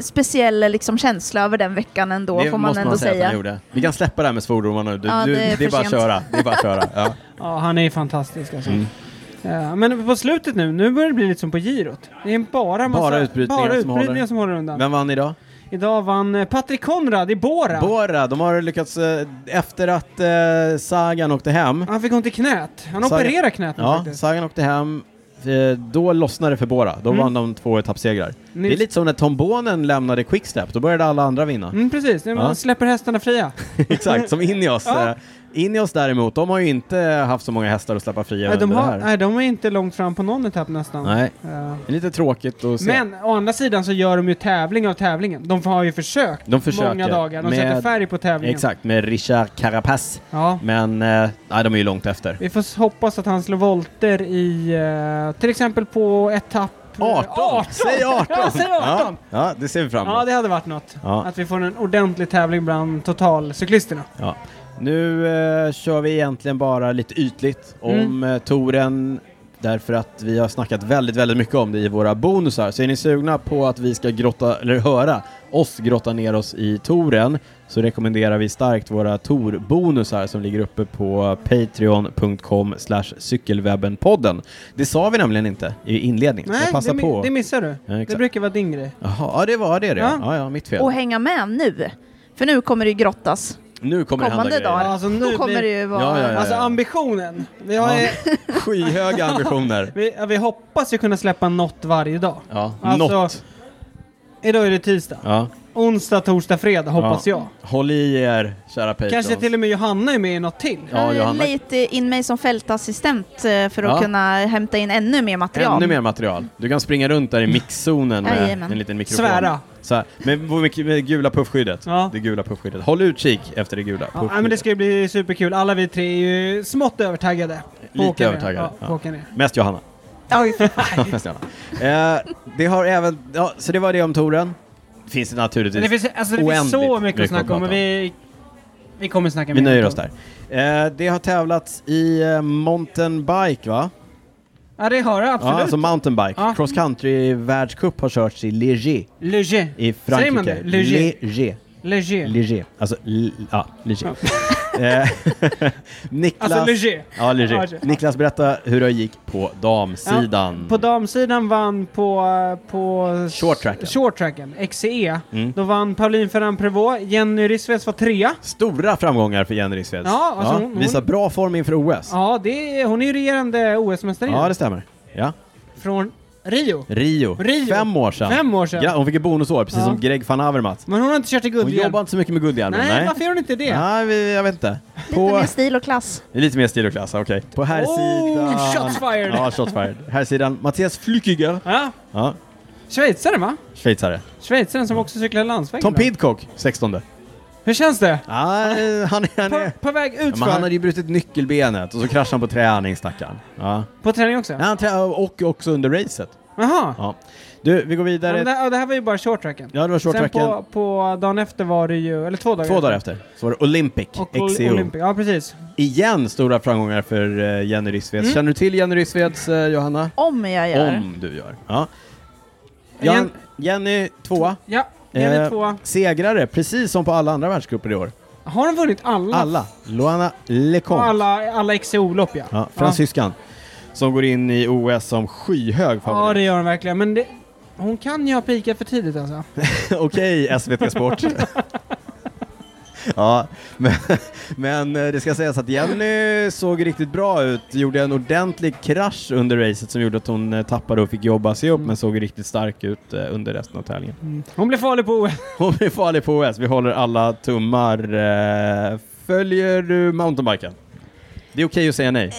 Speaker 3: speciell liksom, känsla över den veckan ändå,
Speaker 1: det
Speaker 3: får man
Speaker 1: måste
Speaker 3: ändå
Speaker 1: man säga,
Speaker 3: säga.
Speaker 1: att han gjorde. Vi kan släppa det här med svordomarna nu. Du,
Speaker 3: Ja,
Speaker 1: du,
Speaker 3: det är
Speaker 1: det är
Speaker 3: för
Speaker 1: bara att
Speaker 3: sent.
Speaker 1: köra. Det är bara att köra. Ja.
Speaker 2: ja, han är ju fantastisk alltså.
Speaker 1: Mm.
Speaker 2: Ja, men på slutet nu, nu börjar det bli lite som på girot. Det är bara, massa,
Speaker 1: Bara utbrytningar
Speaker 2: bara
Speaker 1: som
Speaker 2: utbrytningar
Speaker 1: håller.
Speaker 2: som håller undan.
Speaker 1: Vem vann idag?
Speaker 2: Idag vann eh, Patrik Konrad i Bora.
Speaker 1: Bora, de har lyckats, eh, efter att eh, Sagan åkte hem,
Speaker 2: han fick ont i knät. Han
Speaker 1: Saga-
Speaker 2: opererar knät nu
Speaker 1: ja,
Speaker 2: faktiskt.
Speaker 1: Sagan åkte hem, eh, då lossnade det för Bora. Då
Speaker 2: Mm.
Speaker 1: vann de två etappsegrar. Det är
Speaker 2: Nils-
Speaker 1: lite som när Tom Bonen lämnade Quickstep, då började alla andra vinna.
Speaker 2: Mm, precis, man
Speaker 1: Ja.
Speaker 2: släpper hästarna fria.
Speaker 1: Exakt, som Ineos.
Speaker 2: Ja.
Speaker 1: Ja. Ineos däremot, de har ju inte haft så många hästar att släppa fria
Speaker 2: Nej, de,
Speaker 1: under
Speaker 2: har,
Speaker 1: det här.
Speaker 2: nej, de är inte långt fram på någon etapp nästan.
Speaker 1: Nej,
Speaker 2: Ja.
Speaker 1: det är lite tråkigt att se.
Speaker 2: Men å andra sidan så gör de ju tävling av tävlingen. De har ju försökt
Speaker 1: de försöker.
Speaker 2: många dagar. De
Speaker 1: med,
Speaker 2: sätter färg på tävlingen.
Speaker 1: Exakt, med Richard Carapaz.
Speaker 2: Ja.
Speaker 1: Men eh, nej, de är ju långt efter.
Speaker 2: Vi får s- hoppas att han slår volter i eh, till exempel på etapp eh,
Speaker 1: 18!
Speaker 2: 18.
Speaker 1: Säg 18!
Speaker 2: Ja, säg 18.
Speaker 1: Ja, ja, det ser vi fram emot.
Speaker 2: Ja, det hade varit något.
Speaker 1: Ja.
Speaker 2: Att vi får en ordentlig tävling bland totalcyklisterna.
Speaker 1: Ja. Nu eh, kör vi egentligen bara lite ytligt om
Speaker 2: Mm.
Speaker 1: eh, touren därför att vi har snackat väldigt, väldigt mycket om det i våra bonusar. Så är ni sugna på att vi ska grotta, eller höra oss grotta ner oss i touren så rekommenderar vi starkt våra tourbonusar som ligger uppe på patreon.com slash cykelwebbenpodden. Det sa vi nämligen inte i inledningen, så
Speaker 2: Nej,
Speaker 1: jag passar
Speaker 2: det, mi-
Speaker 1: på.
Speaker 2: det missar du.
Speaker 1: Ja, exakt.
Speaker 2: det brukar vara din grej.
Speaker 1: Jaha, ja det var det det.
Speaker 2: Ja.
Speaker 1: Ja, ja, mitt fel.
Speaker 3: Och hänga med nu, för nu kommer det ju grottas.
Speaker 1: Nu kommer det hända
Speaker 3: kommande
Speaker 1: grejer.
Speaker 3: dagar. Ja,
Speaker 2: alltså,
Speaker 3: Då kommer det
Speaker 2: blir,
Speaker 3: ju vara...
Speaker 1: Ja, ja, ja.
Speaker 2: alltså ambitionen. Vi, har,
Speaker 1: Ja.
Speaker 2: ju-
Speaker 1: Skyhöga ambitioner.
Speaker 2: vi, ja, vi hoppas ju kunna släppa något varje dag.
Speaker 1: Ja,
Speaker 2: Alltså,
Speaker 1: något.
Speaker 2: Idag är det tisdag.
Speaker 1: Ja.
Speaker 2: Onsdag, torsdag, fredag hoppas jag.
Speaker 1: Håll i er, kära Patrons.
Speaker 2: Kanske till och med Johanna är med i något till.
Speaker 1: Ja,
Speaker 3: jag
Speaker 1: Johanna.
Speaker 3: Mm, lite in mig som fältassistent eh, för att
Speaker 1: Ja.
Speaker 3: kunna hämta in ännu mer material.
Speaker 1: Ännu mer material. Du kan springa runt där i mixzonen med
Speaker 3: Jajamän.
Speaker 1: en liten mikrofon.
Speaker 2: Mm. Svära.
Speaker 1: Så här, med, med, med gula puffskyddet.
Speaker 2: Ja.
Speaker 1: Det gula puffskyddet. Håll utkik efter det gula
Speaker 2: Ja, nej, men det ska ju bli superkul. Alla vi tre är ju smått övertaggade. På
Speaker 1: Lite
Speaker 2: att åka ner.
Speaker 1: övertaggade,
Speaker 2: Ja, på
Speaker 1: ja.
Speaker 2: att åka ner.
Speaker 1: Mest Johanna. Mest Johanna. Eh, det har även... Ja, så det var det om touren. Finns det naturligtvis.
Speaker 2: Men det finns, alltså, det finns
Speaker 1: Oändligt
Speaker 2: så mycket
Speaker 1: mycket
Speaker 2: att snacka om,
Speaker 1: att
Speaker 2: men vi, vi kommer snacka
Speaker 1: Vi
Speaker 2: mer.
Speaker 1: nöjer oss där. Eh, det har tävlats i eh, mountainbike va?
Speaker 2: Ja, det har det absolut.
Speaker 1: Ja, alltså mountainbike.
Speaker 2: Ja.
Speaker 1: Cross country världscup har körts i Léger
Speaker 2: Léger.
Speaker 1: i
Speaker 2: Säger man
Speaker 1: Frankrike.
Speaker 2: det? Léger.
Speaker 1: Léger.
Speaker 2: Léger.
Speaker 1: Léger. Alltså, l- ja, Léger. Eh, Niklas...
Speaker 2: Alltså Léger.
Speaker 1: Ja,
Speaker 2: Ja,
Speaker 1: Léger.
Speaker 2: Léger.
Speaker 1: Niklas, berätta hur det gick på damsidan.
Speaker 2: På damsidan vann på... på
Speaker 1: Short tracken.
Speaker 2: Short tracken, XCE.
Speaker 1: Mm.
Speaker 2: Då vann Pauline Ferran Prévost. Jenny Rissveds var trea.
Speaker 1: Stora framgångar för Jenny Rissveds.
Speaker 2: Ja, alltså hon-
Speaker 1: visar
Speaker 2: hon-
Speaker 1: bra form inför OS.
Speaker 2: Ja, det är, hon är ju regerande OS-mästarinna.
Speaker 1: Ja, det stämmer. Ja.
Speaker 2: Från Rio.
Speaker 1: Rio.
Speaker 2: Rio.
Speaker 1: Fem år sedan.
Speaker 2: Fem år sedan.
Speaker 1: Ja, hon fick ett bonusår, precis
Speaker 2: Ja.
Speaker 1: som Greg van Avermaet.
Speaker 2: Men hon har inte kört i
Speaker 1: Hon
Speaker 2: guldhjälm.
Speaker 1: jobbar inte så mycket med guldhjälmen.
Speaker 2: Nej,
Speaker 1: Nej,
Speaker 2: varför gör hon inte det?
Speaker 1: Nej, vi- jag vet inte.
Speaker 3: Lite mer stil och klass.
Speaker 1: Det är lite mer stil och klass, okej. På här sidan...
Speaker 2: Oh, shots fired!
Speaker 1: Ja, shots fired. Här sidan Mattias Flückiger.
Speaker 2: Ja.
Speaker 1: Ja,
Speaker 2: Schweizare va?
Speaker 1: schweizare.
Speaker 2: Schweizaren som också cyklar landsväg.
Speaker 1: Tom
Speaker 2: ibland.
Speaker 1: Pidcock, 16.
Speaker 2: Hur känns det?
Speaker 1: Ja, eh, han är... Han
Speaker 2: På,
Speaker 1: är
Speaker 2: på väg
Speaker 1: Ja,
Speaker 2: utför?
Speaker 1: men han hade ju brutit nyckelbenet och så kraschade han på träning, stackaren. Ja.
Speaker 2: På träning också?
Speaker 1: Ja, han trä- och också under racet.
Speaker 2: Jaha.
Speaker 1: Ja. Du, vi går
Speaker 2: Ja,
Speaker 1: vidare.
Speaker 2: men det, ja, det här var ju bara short tracken.
Speaker 1: Ja, det var short
Speaker 2: Sen
Speaker 1: tracken.
Speaker 2: på, på dagen efter var det ju, eller två dagar
Speaker 1: Två dagar E efter så var det Olympic,
Speaker 2: Och
Speaker 1: XCO.
Speaker 2: Olympic. Ja, precis.
Speaker 1: Igen stora framgångar för eh, Jenny Rissveds.
Speaker 2: Mm.
Speaker 1: Känner du till Jenny Rissveds, eh, Johanna?
Speaker 3: Om jag gör.
Speaker 1: Om du gör. Ja.
Speaker 2: Jen-
Speaker 1: Jan, Jenny tvåa.
Speaker 2: Ja, Jenny
Speaker 1: Eh,
Speaker 2: tvåa.
Speaker 1: Segrare, precis som på alla andra världscuper i år.
Speaker 2: Har de vunnit alla?
Speaker 1: Alla. Loana
Speaker 2: Och
Speaker 1: Lecomte.
Speaker 2: Mm. alla, alla XCO-lopp ja.
Speaker 1: Ja, fransyskan. Som går in i OS som skyhög
Speaker 2: Ja, det
Speaker 1: favorit.
Speaker 2: gör de verkligen. Men det, hon kan ju ha pikat för tidigt alltså.
Speaker 1: Okej, SVT Sport. ja, men, men eh, det ska sägas att Jenny såg riktigt bra ut. Gjorde en ordentlig krasch under racet som gjorde att hon eh, tappade och fick jobba sig
Speaker 2: Mm.
Speaker 1: upp, men såg riktigt stark ut eh, under resten av tävlingen.
Speaker 2: Hon blev farlig på OS.
Speaker 1: Hon är farlig på OS. Vi håller alla tummar. Eh, Följer du mountainbiken? Det är okej att säga nej.
Speaker 3: Eh,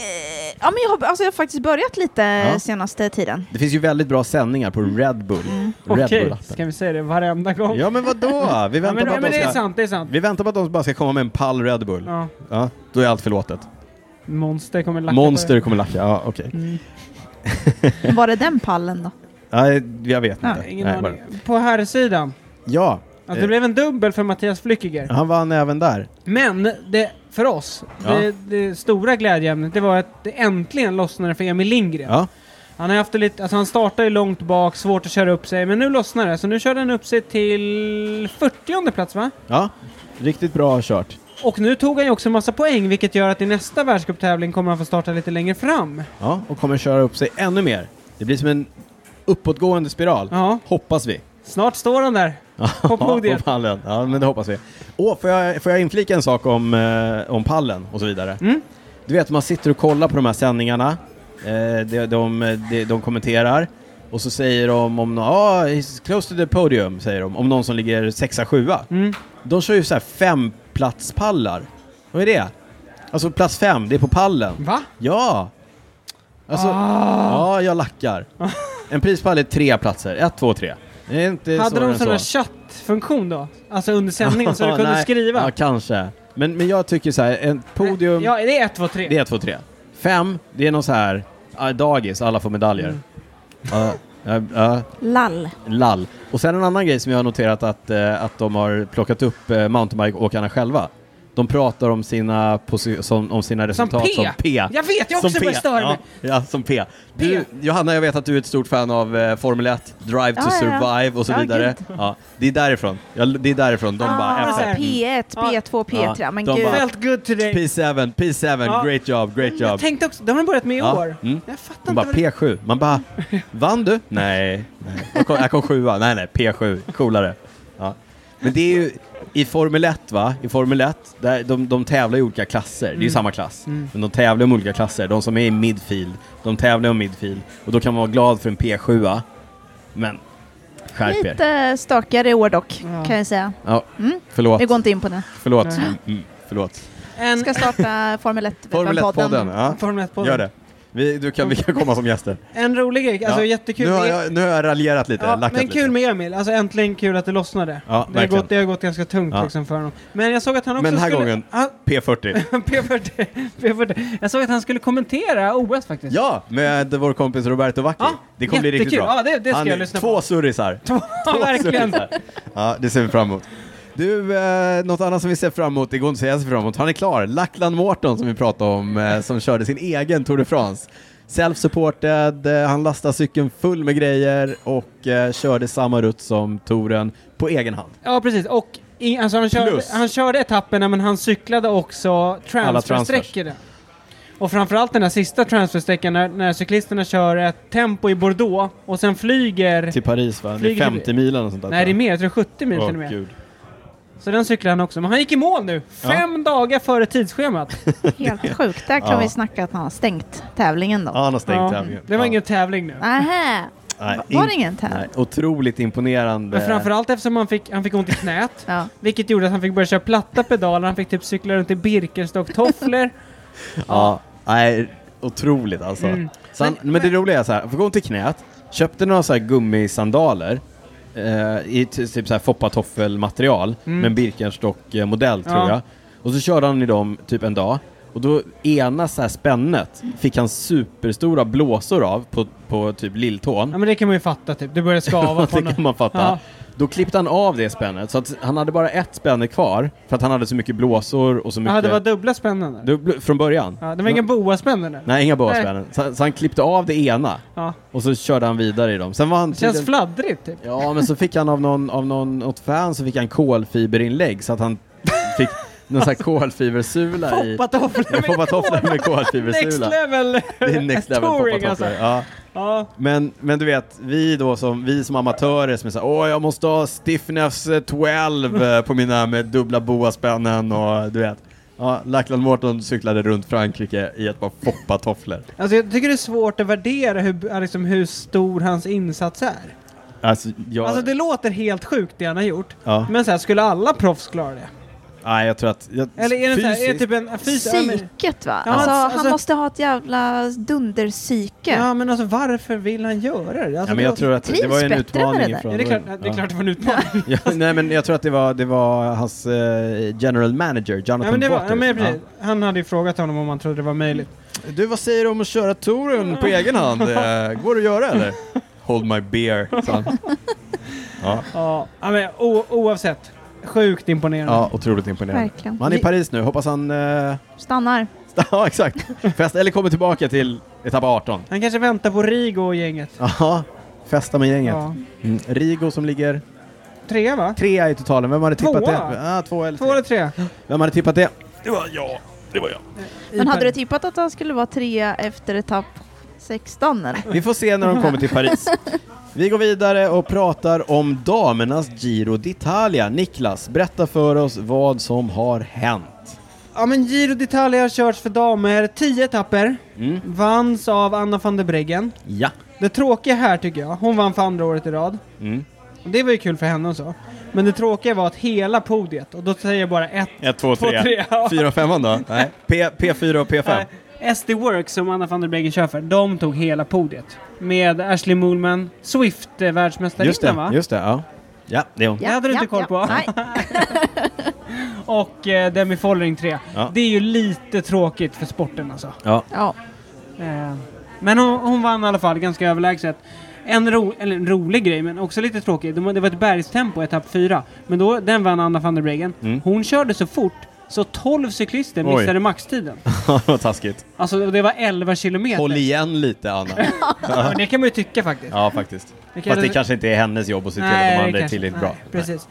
Speaker 3: Ja, men jag, har, alltså, jag har faktiskt börjat lite
Speaker 1: Ja.
Speaker 3: senaste tiden.
Speaker 1: Det finns ju väldigt bra sändningar på Red Bull. Red
Speaker 2: Mm. Okej,
Speaker 1: Bull-appen.
Speaker 2: ska vi säga det varenda gång?
Speaker 1: Ja men vadå? Vi
Speaker 2: Ja,
Speaker 1: väntar,
Speaker 2: men,
Speaker 1: på
Speaker 2: ja,
Speaker 1: att
Speaker 2: men det
Speaker 1: de
Speaker 2: är
Speaker 1: ska,
Speaker 2: sant, det är sant.
Speaker 1: vi väntar på att de bara ska komma med en pall Red Bull. Ja.
Speaker 2: Ja.
Speaker 1: då är allt förlåtet.
Speaker 2: Monster kommer lacka
Speaker 1: Monster kommer lacka, ja okej.
Speaker 2: På det. Mm.
Speaker 3: Var det den pallen då?
Speaker 1: Nej, jag vet inte.
Speaker 3: Ja,
Speaker 2: Ingen
Speaker 1: Nej, bara-
Speaker 2: aning. På här sidan.
Speaker 1: Ja,
Speaker 2: Att
Speaker 1: Eh.
Speaker 2: det blev en dubbel för Mattias Flückiger.
Speaker 1: han vann även där.
Speaker 2: Men det, för oss,
Speaker 1: Ja.
Speaker 2: det, det stora glädjeämnet det var att det äntligen lossnade för Emil Lindgren.
Speaker 1: Ja.
Speaker 2: Han har haft det lite, alltså han startade ju långt bak, svårt att köra upp sig, men nu lossnar det. Så nu körde han upp sig till 40 plats va?
Speaker 1: ja, riktigt bra kört.
Speaker 2: Och nu tog han ju också en massa poäng, vilket gör att i nästa världscuptävling kommer han få starta lite längre fram.
Speaker 1: Ja, och kommer köra upp sig ännu mer. Det blir som en uppåtgående spiral,
Speaker 2: Ja,
Speaker 1: hoppas vi.
Speaker 2: snart står han där. På podiet.
Speaker 1: på pallen. Ja, men det hoppas vi. Åh, får jag, får jag inflika en sak om, eh, om pallen och så vidare?
Speaker 2: Mm.
Speaker 1: Du vet, man sitter och kollar på de här sändningarna. Eh, de, de, de, de kommenterar. Och så säger de om någon, ah, he's close to the podium, säger de, om någon som ligger sexa, sjua.
Speaker 2: Mm.
Speaker 1: De kör ju så här femplatspallar. Vad är det? Alltså plats fem, det är på pallen.
Speaker 2: Va?
Speaker 1: Ja! Alltså,
Speaker 2: Ah.
Speaker 1: ja, jag lackar. En prispall är tre platser. Ett, två, tre. Det är inte
Speaker 2: Hade
Speaker 1: svårare
Speaker 2: de
Speaker 1: än
Speaker 2: sån där
Speaker 1: så.
Speaker 2: chattfunktion då? Alltså under sändningen så du kunde
Speaker 1: Nej.
Speaker 2: skriva?
Speaker 1: Ja, kanske. Men, men jag tycker så här, en podium,
Speaker 2: Ja, det är 1, 2, 3.
Speaker 1: det är två, tre. Fem, det är någon så här, ah, dagis, alla får medaljer.
Speaker 2: Mm.
Speaker 1: Ja, ja, ja,
Speaker 3: Lall.
Speaker 1: lall. Och sen en annan grej som jag har noterat att, eh, att de har plockat upp eh, mountainbike-åkarna själva. De pratar om sina, posi- som, om sina resultat
Speaker 2: P.
Speaker 1: som P.
Speaker 2: Jag vet, jag har
Speaker 1: Som
Speaker 2: också börjat störa
Speaker 1: ja,
Speaker 2: mig.
Speaker 1: ja, som P. Du, Johanna, jag vet att du är ett stort fan av eh, Formel 1, Drive to
Speaker 3: Ja, ja, ja.
Speaker 1: Survive och så
Speaker 3: Ja,
Speaker 1: vidare. Ja, det är därifrån. Ja, det är därifrån. De bara
Speaker 3: Ah,
Speaker 1: F1.
Speaker 3: P1, P2, P3.
Speaker 1: Ja,
Speaker 3: men
Speaker 1: de
Speaker 3: gud.
Speaker 1: bara-
Speaker 2: Felt good today.
Speaker 1: P7, P7,
Speaker 2: Ja.
Speaker 1: great job, great
Speaker 2: Jag
Speaker 1: job.
Speaker 2: tänkte också, det har de börjat med i
Speaker 1: Ja,
Speaker 2: år.
Speaker 1: mm.
Speaker 2: Jag fattar
Speaker 1: De bara
Speaker 2: inte. vad det-
Speaker 1: P7. Man bara, vann du? Nej. nej. Jag, kom, jag kom sjua. Nej, nej, P7. Coolare. Ja. Men det är ju i Formel 1, va? I Formel 1, där de, de tävlar i olika klasser. Det är ju samma klass.
Speaker 2: Mm.
Speaker 1: Men de tävlar om olika klasser. De som är i midfield, de tävlar om midfield. Och då kan man vara glad för en P7. Men skärp er.
Speaker 3: Lite stökigare i år dock,
Speaker 2: Ja.
Speaker 3: kan jag säga.
Speaker 1: Ja,
Speaker 3: Mm.
Speaker 1: förlåt.
Speaker 3: Vi går inte in på det.
Speaker 1: Förlåt.
Speaker 2: Nej.
Speaker 1: Mm, förlåt.
Speaker 2: En,
Speaker 3: Ska starta Formel 1
Speaker 1: Formel 1-podden. Ja,
Speaker 2: Formel 1
Speaker 1: gör det. Vi, du kan, vi kan komma som gäster.
Speaker 2: En rolig grej, alltså
Speaker 1: Ja.
Speaker 2: jättekul.
Speaker 1: Nu har, jag, nu har jag raljerat lite,
Speaker 2: ja,
Speaker 1: lackat
Speaker 2: men
Speaker 1: lite.
Speaker 2: kul med Emil, alltså äntligen kul att det lossnade.
Speaker 1: Ja,
Speaker 2: det, har
Speaker 1: verkligen.
Speaker 2: gått, det har gått ganska tungt
Speaker 1: Ja.
Speaker 2: liksom för honom. Men jag såg att han också
Speaker 1: Men den här
Speaker 2: skulle...
Speaker 1: gången-
Speaker 2: Han,
Speaker 1: P40.
Speaker 2: P40, P40. Jag såg att han skulle kommentera OS faktiskt.
Speaker 1: Ja, med vår kompis Roberto Vacchi.
Speaker 2: Ja,
Speaker 1: det kommer bli riktigt
Speaker 2: jättekul.
Speaker 1: bra.
Speaker 2: Ja, det, det ska
Speaker 1: Han
Speaker 2: jag
Speaker 1: är
Speaker 2: lyssna
Speaker 1: två
Speaker 2: på.
Speaker 1: surrisar.
Speaker 2: Två, verkligen.
Speaker 1: surrisar. Ja, det ser vi fram emot. Du, eh, något annat som vi ser fram emot, det går inte att säga sig fram emot, han är klar. Lachlan Morton som vi pratade om, eh, som körde sin egen Tour de France. Self-supported, eh, han lastade cykeln full med grejer och eh, körde samma rutt som touren på egen hand.
Speaker 2: Ja, precis. Och i, alltså han, körde,
Speaker 1: Plus.
Speaker 2: han körde etapperna men han cyklade också transfersträckorna. Och framförallt den här sista transfersträckan när, när cyklisterna kör ett tempo i Bordeaux och sen flyger...
Speaker 1: Till Paris va? Det är
Speaker 2: Flyger
Speaker 1: 50 milen och sånt där.
Speaker 2: Nej, det är mer. Jag tror 70 mil till och med. Så den cyklade han också. Men han gick i mål nu!
Speaker 1: Ja.
Speaker 2: Fem dagar före tidsschemat.
Speaker 3: Helt sjukt. Där kan
Speaker 1: Ja.
Speaker 3: vi snacka att han har stängt tävlingen då.
Speaker 1: Ja, han har stängt
Speaker 2: Ja.
Speaker 1: tävlingen.
Speaker 2: Det var
Speaker 1: ja.
Speaker 2: ingen tävling nu.
Speaker 3: Nähä.
Speaker 1: Nej,
Speaker 3: Var det
Speaker 1: in-
Speaker 3: ingen tävling?
Speaker 1: Nej, otroligt imponerande.
Speaker 2: Men framförallt eftersom han fick, han fick ont i knät.
Speaker 3: Ja.
Speaker 2: Vilket gjorde att han fick börja köra platta pedaler, han fick typ cykla runt i Birkenstock-tofflor.
Speaker 1: Ja, nej, otroligt alltså.
Speaker 2: Mm.
Speaker 1: Så han, men, det roliga är så här, han får gå ont i knät, köpte några så här gummisandaler eh, i ty- typ så här foppatoffelmaterial
Speaker 2: Mm.
Speaker 1: med en Birkenstock-modell tror
Speaker 2: Ja.
Speaker 1: jag. Och så körde han i dem typ en dag och då ena så här spännet fick han superstora blåsor av på, på typ lilltån.
Speaker 2: Ja men det kan man ju fatta typ, det börjar skava på
Speaker 1: det kan man fatta.
Speaker 2: Ja.
Speaker 1: Då klippte han av det spännet så att han hade bara ett spänne kvar för att han hade så mycket blåsor och så mycket...
Speaker 2: Ja, det var dubbla spännen där.
Speaker 1: Dubbl- från början.
Speaker 2: Ja, det var ingen boaspännen där.
Speaker 1: Nej, inga boaspännen. Så, så han klippte av det ena
Speaker 2: Ja.
Speaker 1: och så körde han vidare i dem. Sen var han
Speaker 2: Det känns
Speaker 1: tydligen-
Speaker 2: fladdrigt typ.
Speaker 1: Ja, men så fick han av någon, av någon, något fan så fick han kolfiberinlägg så att han fick någon sån här kolfibersula i...
Speaker 2: Foppatofflor med
Speaker 1: Foppatofflor med
Speaker 2: next
Speaker 1: kolfibersula.
Speaker 2: level!
Speaker 1: Det är next level
Speaker 2: touring, alltså.
Speaker 1: foppatofflor. Ja.
Speaker 2: Ja.
Speaker 1: Men, men du vet, vi då som, vi som amatörer som är såhär, åh jag måste ha Stiffness eh, 12 eh, på mina med dubbla boaspännen och du vet. Ja, Lachlan Morton cyklade runt Frankrike i ett par foppatofflor.
Speaker 2: Alltså jag tycker det är svårt att värdera hur, liksom, hur stor hans insats är.
Speaker 1: Alltså, jag...
Speaker 2: Alltså det låter helt sjukt det han har gjort.
Speaker 1: ja.
Speaker 2: Men så här, skulle alla proffs klara det?
Speaker 1: Nej, jag tror att... Jag,
Speaker 2: Eller är det, så här, är det
Speaker 1: fysiskt-
Speaker 2: typ en fys... ja, men-
Speaker 3: Psyket va?
Speaker 2: Ja,
Speaker 3: alltså,
Speaker 2: alltså-
Speaker 3: han måste ha ett jävla dunderpsyke.
Speaker 2: Ja men alltså varför vill han göra det? Alltså,
Speaker 1: ja, men jag
Speaker 2: det-
Speaker 1: tror att det
Speaker 3: trivs
Speaker 1: var ju en
Speaker 3: bättre med det
Speaker 1: utmaning
Speaker 3: där.
Speaker 1: ifrån...
Speaker 2: Ja, det, är klart, det är klart det var en utmaning.
Speaker 1: Ja, nej, men jag tror att det var, det var hans eh, general manager, Jonathan
Speaker 2: Ja, men det var,
Speaker 1: Waters.
Speaker 2: ja, men precis. Han hade ju frågat honom om han trodde det var möjligt.
Speaker 1: Ja. Du, vad säger du om att köra touren på egen hand? Eh, Går det att göra eller? Hold my beer, sa han. Ja.
Speaker 2: Ja, ja, men o, oavsett. Sjukt imponerande.
Speaker 1: ja, otroligt imponerande.
Speaker 3: Verkligen.
Speaker 1: Han är i Paris nu, hoppas han... eh,
Speaker 3: Stannar.
Speaker 1: ja, exakt. Fest, eller kommer tillbaka till etapp 18.
Speaker 2: Han kanske väntar på Rigo och gänget.
Speaker 1: Ja, festa med gänget.
Speaker 2: Ja.
Speaker 1: Mm. Rigo som ligger
Speaker 2: Trea va?
Speaker 1: trea i totalen, vem hade tippat
Speaker 2: Tvåa.
Speaker 1: det? Ja, två eller
Speaker 2: Två
Speaker 1: tre.
Speaker 2: eller tre?
Speaker 1: Vem hade tippat det?
Speaker 2: I
Speaker 3: Men hade du
Speaker 2: Paris.
Speaker 3: tippat att han skulle vara trea efter etapp 16 eller?
Speaker 1: Vi får se när de kommer till Paris. Vi går vidare och pratar om damernas Giro d'Italia. Niklas, berätta för oss vad som har hänt.
Speaker 2: Ja men Giro d'Italia har körts för damer. Tio etapper.
Speaker 1: Mm.
Speaker 2: Vanns av Anna van der Breggen.
Speaker 1: Ja.
Speaker 2: Det tråkiga här tycker jag, hon vann för andra året i rad.
Speaker 1: Mm.
Speaker 2: Och Det var ju kul för henne och så. Men det tråkiga var att hela podiet, och då säger jag bara ett,
Speaker 1: 1, 2,
Speaker 2: två, tre. ja.
Speaker 1: Fyra och femman då? Nej. P, P4 och P5.
Speaker 2: Nej, eh, SD Works som Anna van der Breggen kör för, de tog hela podiet. Med Ashley Moolman,
Speaker 1: Just
Speaker 2: Swift-världsmästarinnan
Speaker 1: det,
Speaker 2: va?
Speaker 1: just det. Ja, ja det är hon.
Speaker 2: Det hade du inte koll på.
Speaker 3: Nej.
Speaker 2: Och eh, Demi Follering 3.
Speaker 1: Ja.
Speaker 2: Det är ju lite tråkigt för sporten alltså.
Speaker 1: Ja.
Speaker 3: Ja.
Speaker 2: Eh, men hon, hon vann i alla fall ganska överlägset. En, ro, eller en rolig grej, men också lite tråkig. Det var det var ett bergstempo, etapp 4. Men då, den vann Anna van der Breggen.
Speaker 1: Mm.
Speaker 2: Hon körde så fort så 12 cyklister
Speaker 1: Oj.
Speaker 2: missade maxtiden.
Speaker 1: Vad taskigt.
Speaker 2: Alltså det var 11 kilometer.
Speaker 1: Håll igen lite, Anna.
Speaker 2: Ja, men det kan man ju tycka faktiskt.
Speaker 1: Ja, faktiskt.
Speaker 2: Det kan-
Speaker 1: Fast det kanske inte är hennes jobb att se till att
Speaker 2: Nej,
Speaker 1: de
Speaker 2: det
Speaker 1: andra är
Speaker 2: kanske-
Speaker 1: tillräckligt
Speaker 2: nej,
Speaker 1: bra.
Speaker 2: Precis.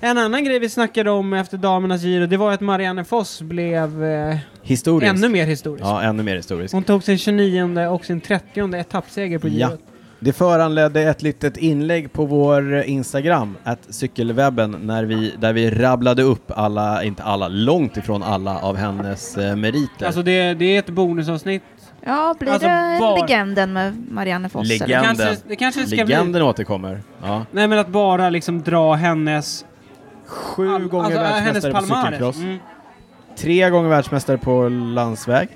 Speaker 2: En annan grej vi snackade om efter damernas Giro, det var att Marianne Foss blev eh,
Speaker 1: Historiskt.
Speaker 2: ännu mer historisk.
Speaker 1: Ja, ännu mer historiskt.
Speaker 2: Hon tog sin 29 och sin 30 etappseger på
Speaker 1: Ja.
Speaker 2: Girot.
Speaker 1: Det föranledde ett litet inlägg på vår Instagram, att cykelwebben, när vi, där vi rabblade upp alla, inte alla, långt ifrån alla av hennes eh, meriter.
Speaker 2: Alltså det, det är ett bonusavsnitt.
Speaker 3: Ja, blir
Speaker 2: Alltså,
Speaker 3: det
Speaker 2: var-
Speaker 3: legenden med Marianne Foss? eller?
Speaker 1: Legend. Legenden.
Speaker 2: Kanske, det kanske ska
Speaker 1: Legenden
Speaker 2: bli...
Speaker 1: återkommer. Ja.
Speaker 2: Nej men att bara liksom dra hennes...
Speaker 1: Sju
Speaker 2: all-
Speaker 1: gånger
Speaker 2: alltså, hennes
Speaker 1: världsmästare på
Speaker 2: Palmares.
Speaker 1: cykelcross,
Speaker 2: Mm.
Speaker 1: tre gånger världsmästare på landsväg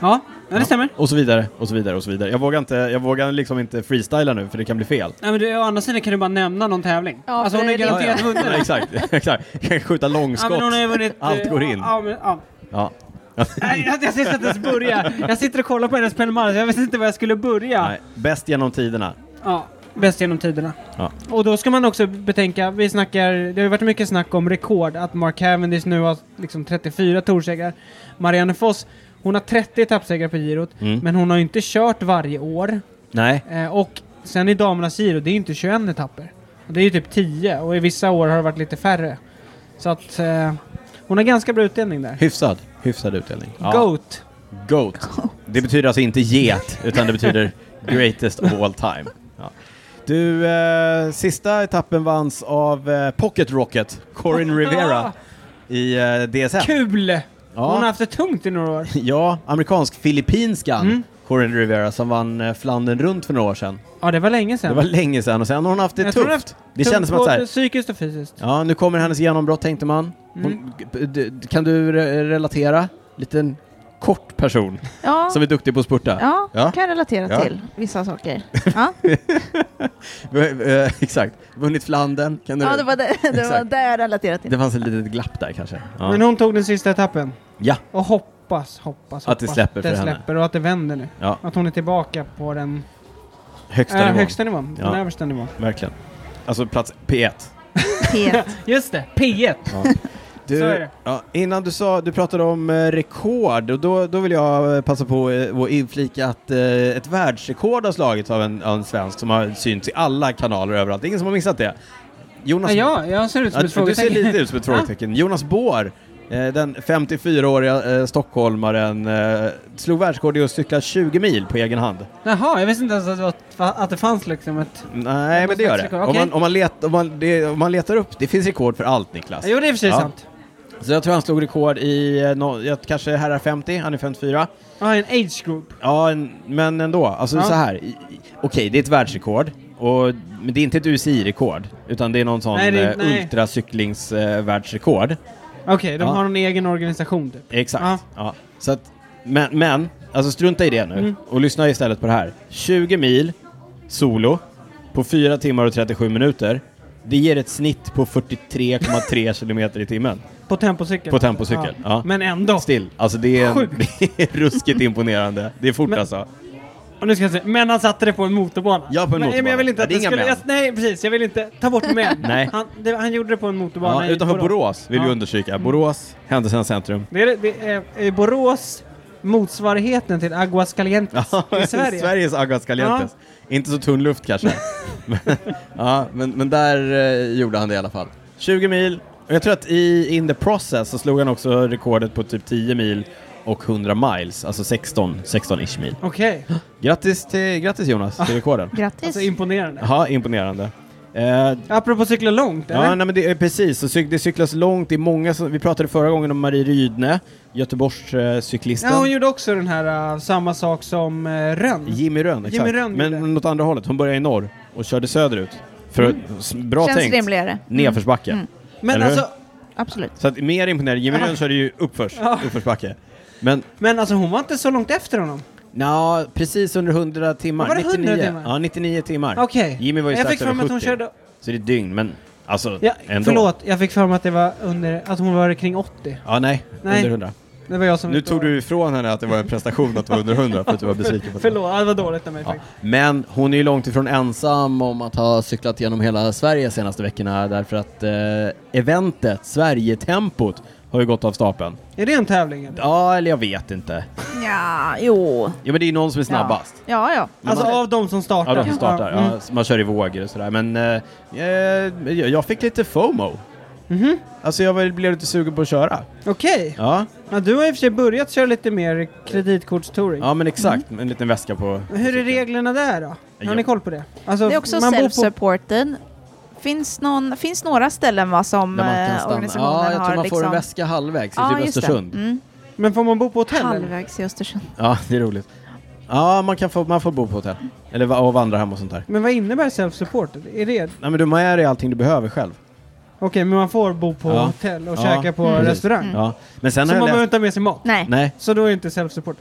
Speaker 2: Ja, ja, det stämmer.
Speaker 1: och så vidare, och så vidare, och så vidare. Jag vågar, inte, jag vågar liksom inte freestyla nu för det kan bli fel.
Speaker 2: Nej, men du, å andra sidan kan du bara nämna någon tävling.
Speaker 3: Ja,
Speaker 2: alltså
Speaker 3: för
Speaker 2: hon har
Speaker 3: det är
Speaker 2: garanterat vunnit.
Speaker 1: Ja, exakt, exakt. Jag kan skjuta
Speaker 2: Ja,
Speaker 1: långskott.
Speaker 2: men hon har ju vunnit...
Speaker 1: Allt
Speaker 2: eh,
Speaker 1: går in.
Speaker 2: Ja, men, ja.
Speaker 1: Ja.
Speaker 2: Nej, jag, jag ska inte ens börja. Jag sitter och kollar på hennes Palmares, jag visste inte var jag skulle börja.
Speaker 1: Nej, bäst genom tiderna.
Speaker 2: Ja. Bäst genom tiderna.
Speaker 1: Ja.
Speaker 2: Och då ska man också betänka, vi snackar, det har ju varit mycket snack om rekord, att Mark Cavendish nu har liksom 34 torsegrar. Marianne Foss, hon har 30 etappsegrar på girot,
Speaker 1: Mm.
Speaker 2: men hon har ju inte kört varje år.
Speaker 1: Nej.
Speaker 2: Eh, och sen i damernas giro, det är ju inte 21 etapper. Det är ju typ 10 och i vissa år har det varit lite färre. Så att eh, hon har ganska bra utdelning där.
Speaker 1: Hyfsad. Hyfsad utdelning. Ja.
Speaker 2: Goat.
Speaker 1: Goat. Det betyder alltså inte get, utan det betyder greatest of all time. Ja. Du, eh, sista etappen vanns av eh, Pocket Rocket, Corin Rivera, i eh, DSM.
Speaker 2: Kul! Hon har
Speaker 1: Ja,
Speaker 2: haft det tungt i några år.
Speaker 1: ja amerikansk-filippinskan
Speaker 2: Mm.
Speaker 1: Corin Rivera som vann eh, Flandern runt för några år sedan.
Speaker 2: Ja, det var länge sedan.
Speaker 1: Det var länge sedan och sen har hon haft det
Speaker 2: Jag tror
Speaker 1: tufft.
Speaker 2: hon har
Speaker 1: det
Speaker 2: Tungt
Speaker 1: kändes som att så
Speaker 2: både
Speaker 1: här,
Speaker 2: Psykiskt och fysiskt.
Speaker 1: ja, nu kommer hennes genombrott tänkte man. Hon,
Speaker 2: Mm.
Speaker 1: g- d- Kan du re- relatera? Liten kort person
Speaker 3: Ja,
Speaker 1: som är duktig på att spurta.
Speaker 3: ja,
Speaker 1: Ja.
Speaker 3: kan jag relatera
Speaker 1: Ja.
Speaker 3: till vissa saker. Ja,
Speaker 1: Eh, eh, Exakt. Vunnit Flandern. Kan du...
Speaker 3: ja det var det, det, var
Speaker 1: Exakt.
Speaker 3: det jag relaterade till.
Speaker 1: det fanns ett litet glapp där kanske. Ja.
Speaker 2: Men hon tog den sista etappen.
Speaker 1: ja.
Speaker 2: Och hoppas, hoppas,
Speaker 1: Att det
Speaker 2: hoppas
Speaker 1: släpper för
Speaker 2: det
Speaker 1: henne.
Speaker 2: släpper och att det vänder nu.
Speaker 1: ja.
Speaker 2: Att hon är tillbaka på den
Speaker 1: Högsta
Speaker 2: äh,
Speaker 1: nivån.
Speaker 2: högsta nivån,
Speaker 1: Ja.
Speaker 2: den översta nivån.
Speaker 1: Verkligen. Alltså plats P1.
Speaker 3: Helt.
Speaker 2: Just det, P1!
Speaker 1: Du,
Speaker 2: Så är det.
Speaker 1: Ja, innan du sa, du pratade om eh, rekord och då, då vill jag eh, passa på eh, att inflika att eh, ett världsrekord har slagits av en, av en svensk som har synts i alla kanaler överallt. Det är ingen som har missat det. Jonas,
Speaker 2: Ja, jag, jag ser ut som
Speaker 1: Ja,
Speaker 2: ett
Speaker 1: du- du ser
Speaker 2: frågetecken.
Speaker 1: lite ut som ett frågetecken. Jonas Bohr, eh, den 54-åriga eh, stockholmaren, eh, slog världsrekord i att cykla 20 mil på egen hand.
Speaker 2: Jaha, jag visste inte ens att det, var, att det fanns liksom ett...
Speaker 1: Nej, men det gör det.
Speaker 2: Rekord,
Speaker 1: Om man,
Speaker 2: okej.
Speaker 1: om, man let, om, man, det, om man letar upp, det finns rekord för allt Niklas.
Speaker 2: Jo, det är i och för sig
Speaker 1: Ja.
Speaker 2: sant.
Speaker 1: Så jag tror han slog rekord i eh, nå- jag, kanske herrar 50, han är 54.
Speaker 2: Ja, en age group.
Speaker 1: Ja, en, men ändå. Alltså
Speaker 2: Ja.
Speaker 1: så här. i- i- Okej, det är ett världsrekord. Och, men det är inte ett UCI-rekord, utan det är någon sån
Speaker 2: Nej, det-
Speaker 1: eh,
Speaker 2: nej.
Speaker 1: ultracyklings-världsrekord.
Speaker 2: Okej, de
Speaker 1: Ja.
Speaker 2: har en egen organisation typ.
Speaker 1: Exakt.
Speaker 2: Ja.
Speaker 1: Ja. Så att, men, men, alltså strunta i det nu
Speaker 2: Mm.
Speaker 1: och lyssna istället på det här. 20 mil solo på 4 timmar och 37 minuter. Det ger ett snitt på 43,3 kilometer i timmen
Speaker 2: På tempocykel.
Speaker 1: på tempocykel.
Speaker 2: Ja.
Speaker 1: Ja.
Speaker 2: Men ändå.
Speaker 1: Still, alltså det är,
Speaker 2: Sjukt.
Speaker 1: det är ruskigt imponerande. Det är fort
Speaker 2: Men-
Speaker 1: alltså.
Speaker 2: Och nu ska jag se. Men han satte det på en motorbana.
Speaker 1: Ja, på en
Speaker 2: men,
Speaker 1: motorbana.
Speaker 2: Men jag vill inte
Speaker 1: Ja,
Speaker 2: att
Speaker 1: det är
Speaker 2: det
Speaker 1: inga
Speaker 2: skulle...
Speaker 1: män.
Speaker 2: Jag, nej, precis. Jag vill inte ta bort män.
Speaker 1: Nej.
Speaker 2: Han, det, han gjorde det på en motorbana
Speaker 1: Ja,
Speaker 2: i
Speaker 1: utanför Borås vill vi
Speaker 2: Ja. Mm.
Speaker 1: undersöka. Borås, Händelsernas centrum.
Speaker 2: Det är, det är, är Borås motsvarigheten till Aguascalientes i Sverige.
Speaker 1: Sveriges Aguascalientes. Inte så tunn luft kanske. men, ja, men, men där eh, gjorde han det i alla fall. 20 mil. Och jag tror att i In the process så slog han också rekordet på typ 10 mil och 100 miles, alltså 16, 16-ish mil.
Speaker 2: Okej,
Speaker 1: Grattis, till, grattis Jonas till rekorden.
Speaker 3: Grattis.
Speaker 2: alltså imponerande.
Speaker 1: Jaha, imponerande. Eh,
Speaker 2: Apropå cykla långt,
Speaker 1: Ja,
Speaker 2: eller?
Speaker 1: nej, men det är precis. Så cyk- det cyklas långt. Det är många som, vi pratade förra gången om Marie Rydne, Göteborgscyklisten. Eh, cyklisten.
Speaker 2: Ja, hon gjorde också den här, äh, samma sak som uh, Rönn.
Speaker 1: Jimmy Rönn, exakt.
Speaker 2: Jimmy Rönn gjorde.
Speaker 1: men åt andra hållet. Hon började i norr och körde söderut. För,
Speaker 2: Mm.
Speaker 1: s- Bra
Speaker 3: Känns
Speaker 1: tänkt.
Speaker 3: rimligare.
Speaker 1: Nedförsbacke.
Speaker 3: Mm.
Speaker 2: Men
Speaker 1: Eller hur?
Speaker 2: alltså,
Speaker 3: Absolut.
Speaker 1: Så att, mer imponerande. Jimmy Rönn körde ju uppförs,
Speaker 2: Ja.
Speaker 1: uppförsbacke. Men
Speaker 2: men alltså hon var inte så långt efter honom.
Speaker 1: nja, precis under 100 timmar.
Speaker 2: Var det 100
Speaker 1: 99.
Speaker 2: timmar?
Speaker 1: Ja, 99 timmar.
Speaker 2: Okej.
Speaker 1: Jimmy var ju
Speaker 2: Jag
Speaker 1: strax
Speaker 2: fick för
Speaker 1: över
Speaker 2: mig att hon
Speaker 1: 70.
Speaker 2: körde...
Speaker 1: Så det är ett dygn, men alltså
Speaker 2: Ja,
Speaker 1: ändå.
Speaker 2: förlåt, jag fick för mig att det var under... Att hon var kring 80.
Speaker 1: Ja, nej,
Speaker 2: Nej.
Speaker 1: Under 100.
Speaker 2: Det var jag som...
Speaker 1: Nu tog du ifrån henne att det var en prestation att det var under 100 för att du var besviken på det.
Speaker 2: Förlåt, det var dåligt av mig
Speaker 1: Ja.
Speaker 2: faktiskt.
Speaker 1: Men hon är ju långt ifrån ensam om att ha cyklat genom hela Sverige senaste veckorna därför att eh, eventet, Sverigetempot, har ju gått av stapeln.
Speaker 2: Är det en tävling eller?
Speaker 1: Ja, eller jag vet inte.
Speaker 3: Ja, jo.
Speaker 1: Ja, men det är ju någon som är snabbast.
Speaker 3: Ja, ja. ja.
Speaker 2: Alltså
Speaker 1: man-
Speaker 2: av de som startar?
Speaker 1: Ja, de som startar.
Speaker 2: Ja.
Speaker 3: Mm.
Speaker 1: Ja, man kör i vågor och sådär. Men eh, eh, jag- jag fick lite FOMO.
Speaker 2: Mhm.
Speaker 1: Alltså jag var- blev lite sugen på att köra.
Speaker 2: Okej.
Speaker 1: Ja,
Speaker 2: Ja, du har i och för sig börjat köra lite mer kreditkortstouring.
Speaker 1: ja men exakt. En liten väska på.
Speaker 2: Hur är reglerna där då? Har
Speaker 1: Ja.
Speaker 2: ni koll på det? Alltså,
Speaker 3: Det är också
Speaker 2: man bor på...
Speaker 3: self-supported. Finns, någon, finns några ställen va, som
Speaker 1: Där man kan
Speaker 3: eh,
Speaker 1: stanna.
Speaker 3: organisationen
Speaker 1: Ja, jag
Speaker 3: har
Speaker 1: tror man
Speaker 3: liksom...
Speaker 1: får en väska halvvägs.
Speaker 3: Ja,
Speaker 1: Ja, typ
Speaker 3: just det.
Speaker 1: Östersund.
Speaker 3: Mm.
Speaker 2: Men får man bo på hotell? eller?
Speaker 3: Halvvägs i Östersund.
Speaker 1: Ja, det är roligt. Ja, man, kan få, man får bo på hotell. Eller va- och vandra hem och sånt där.
Speaker 2: Men vad innebär self-supported? Är det... Okej,
Speaker 1: Nej men du har med dig allting du behöver själv.
Speaker 2: men man får bo på
Speaker 1: Ja.
Speaker 2: hotell och
Speaker 1: Ja,
Speaker 2: käka på
Speaker 1: precis.
Speaker 2: restaurang?
Speaker 1: Ja. Men sen
Speaker 2: Så
Speaker 1: har
Speaker 2: man
Speaker 1: jag
Speaker 2: behöver
Speaker 1: läst...
Speaker 2: inte ha med sig mat?
Speaker 3: Nej.
Speaker 1: Nej,
Speaker 2: Så då är det inte self-supported?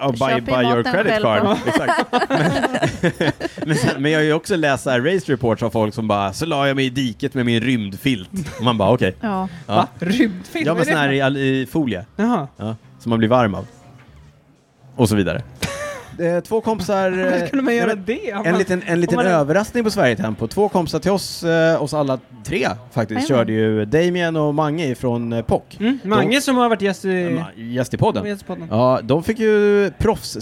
Speaker 1: ja,
Speaker 3: Köp
Speaker 1: buy,
Speaker 3: in
Speaker 1: buy your
Speaker 3: maten
Speaker 1: credit
Speaker 3: själv
Speaker 1: card.
Speaker 3: bara.
Speaker 1: Exakt. Men, men, sen, men jag har ju också läst så här race reports av folk som bara, så la jag mig i diket med min rymdfilt. Och man bara okej.
Speaker 3: Ja.
Speaker 1: Ja.
Speaker 2: Va? Rymdfilm?
Speaker 1: Ja
Speaker 2: Vad
Speaker 1: men
Speaker 2: är
Speaker 1: sån
Speaker 2: det
Speaker 1: här
Speaker 2: för
Speaker 1: i, all- i folie,
Speaker 2: något? Jaha.
Speaker 1: ja, som man blir varm av. Och så vidare. eh, två kompisar...
Speaker 2: Hur skulle man
Speaker 1: eh,
Speaker 2: göra
Speaker 1: nej, men
Speaker 2: det? Om
Speaker 1: En
Speaker 2: man-
Speaker 1: liten, en liten
Speaker 2: man-
Speaker 1: överraskning på Sverigetempo. Två kompisar till oss, eh, oss alla tre faktiskt,
Speaker 3: Jajamän.
Speaker 1: körde ju Damien och Mange från eh, POC.
Speaker 2: Mm, Mange som har varit gäst i...
Speaker 1: Eh, Gäst i podden.
Speaker 2: Nyhetspodden.
Speaker 1: Ja, de fick ju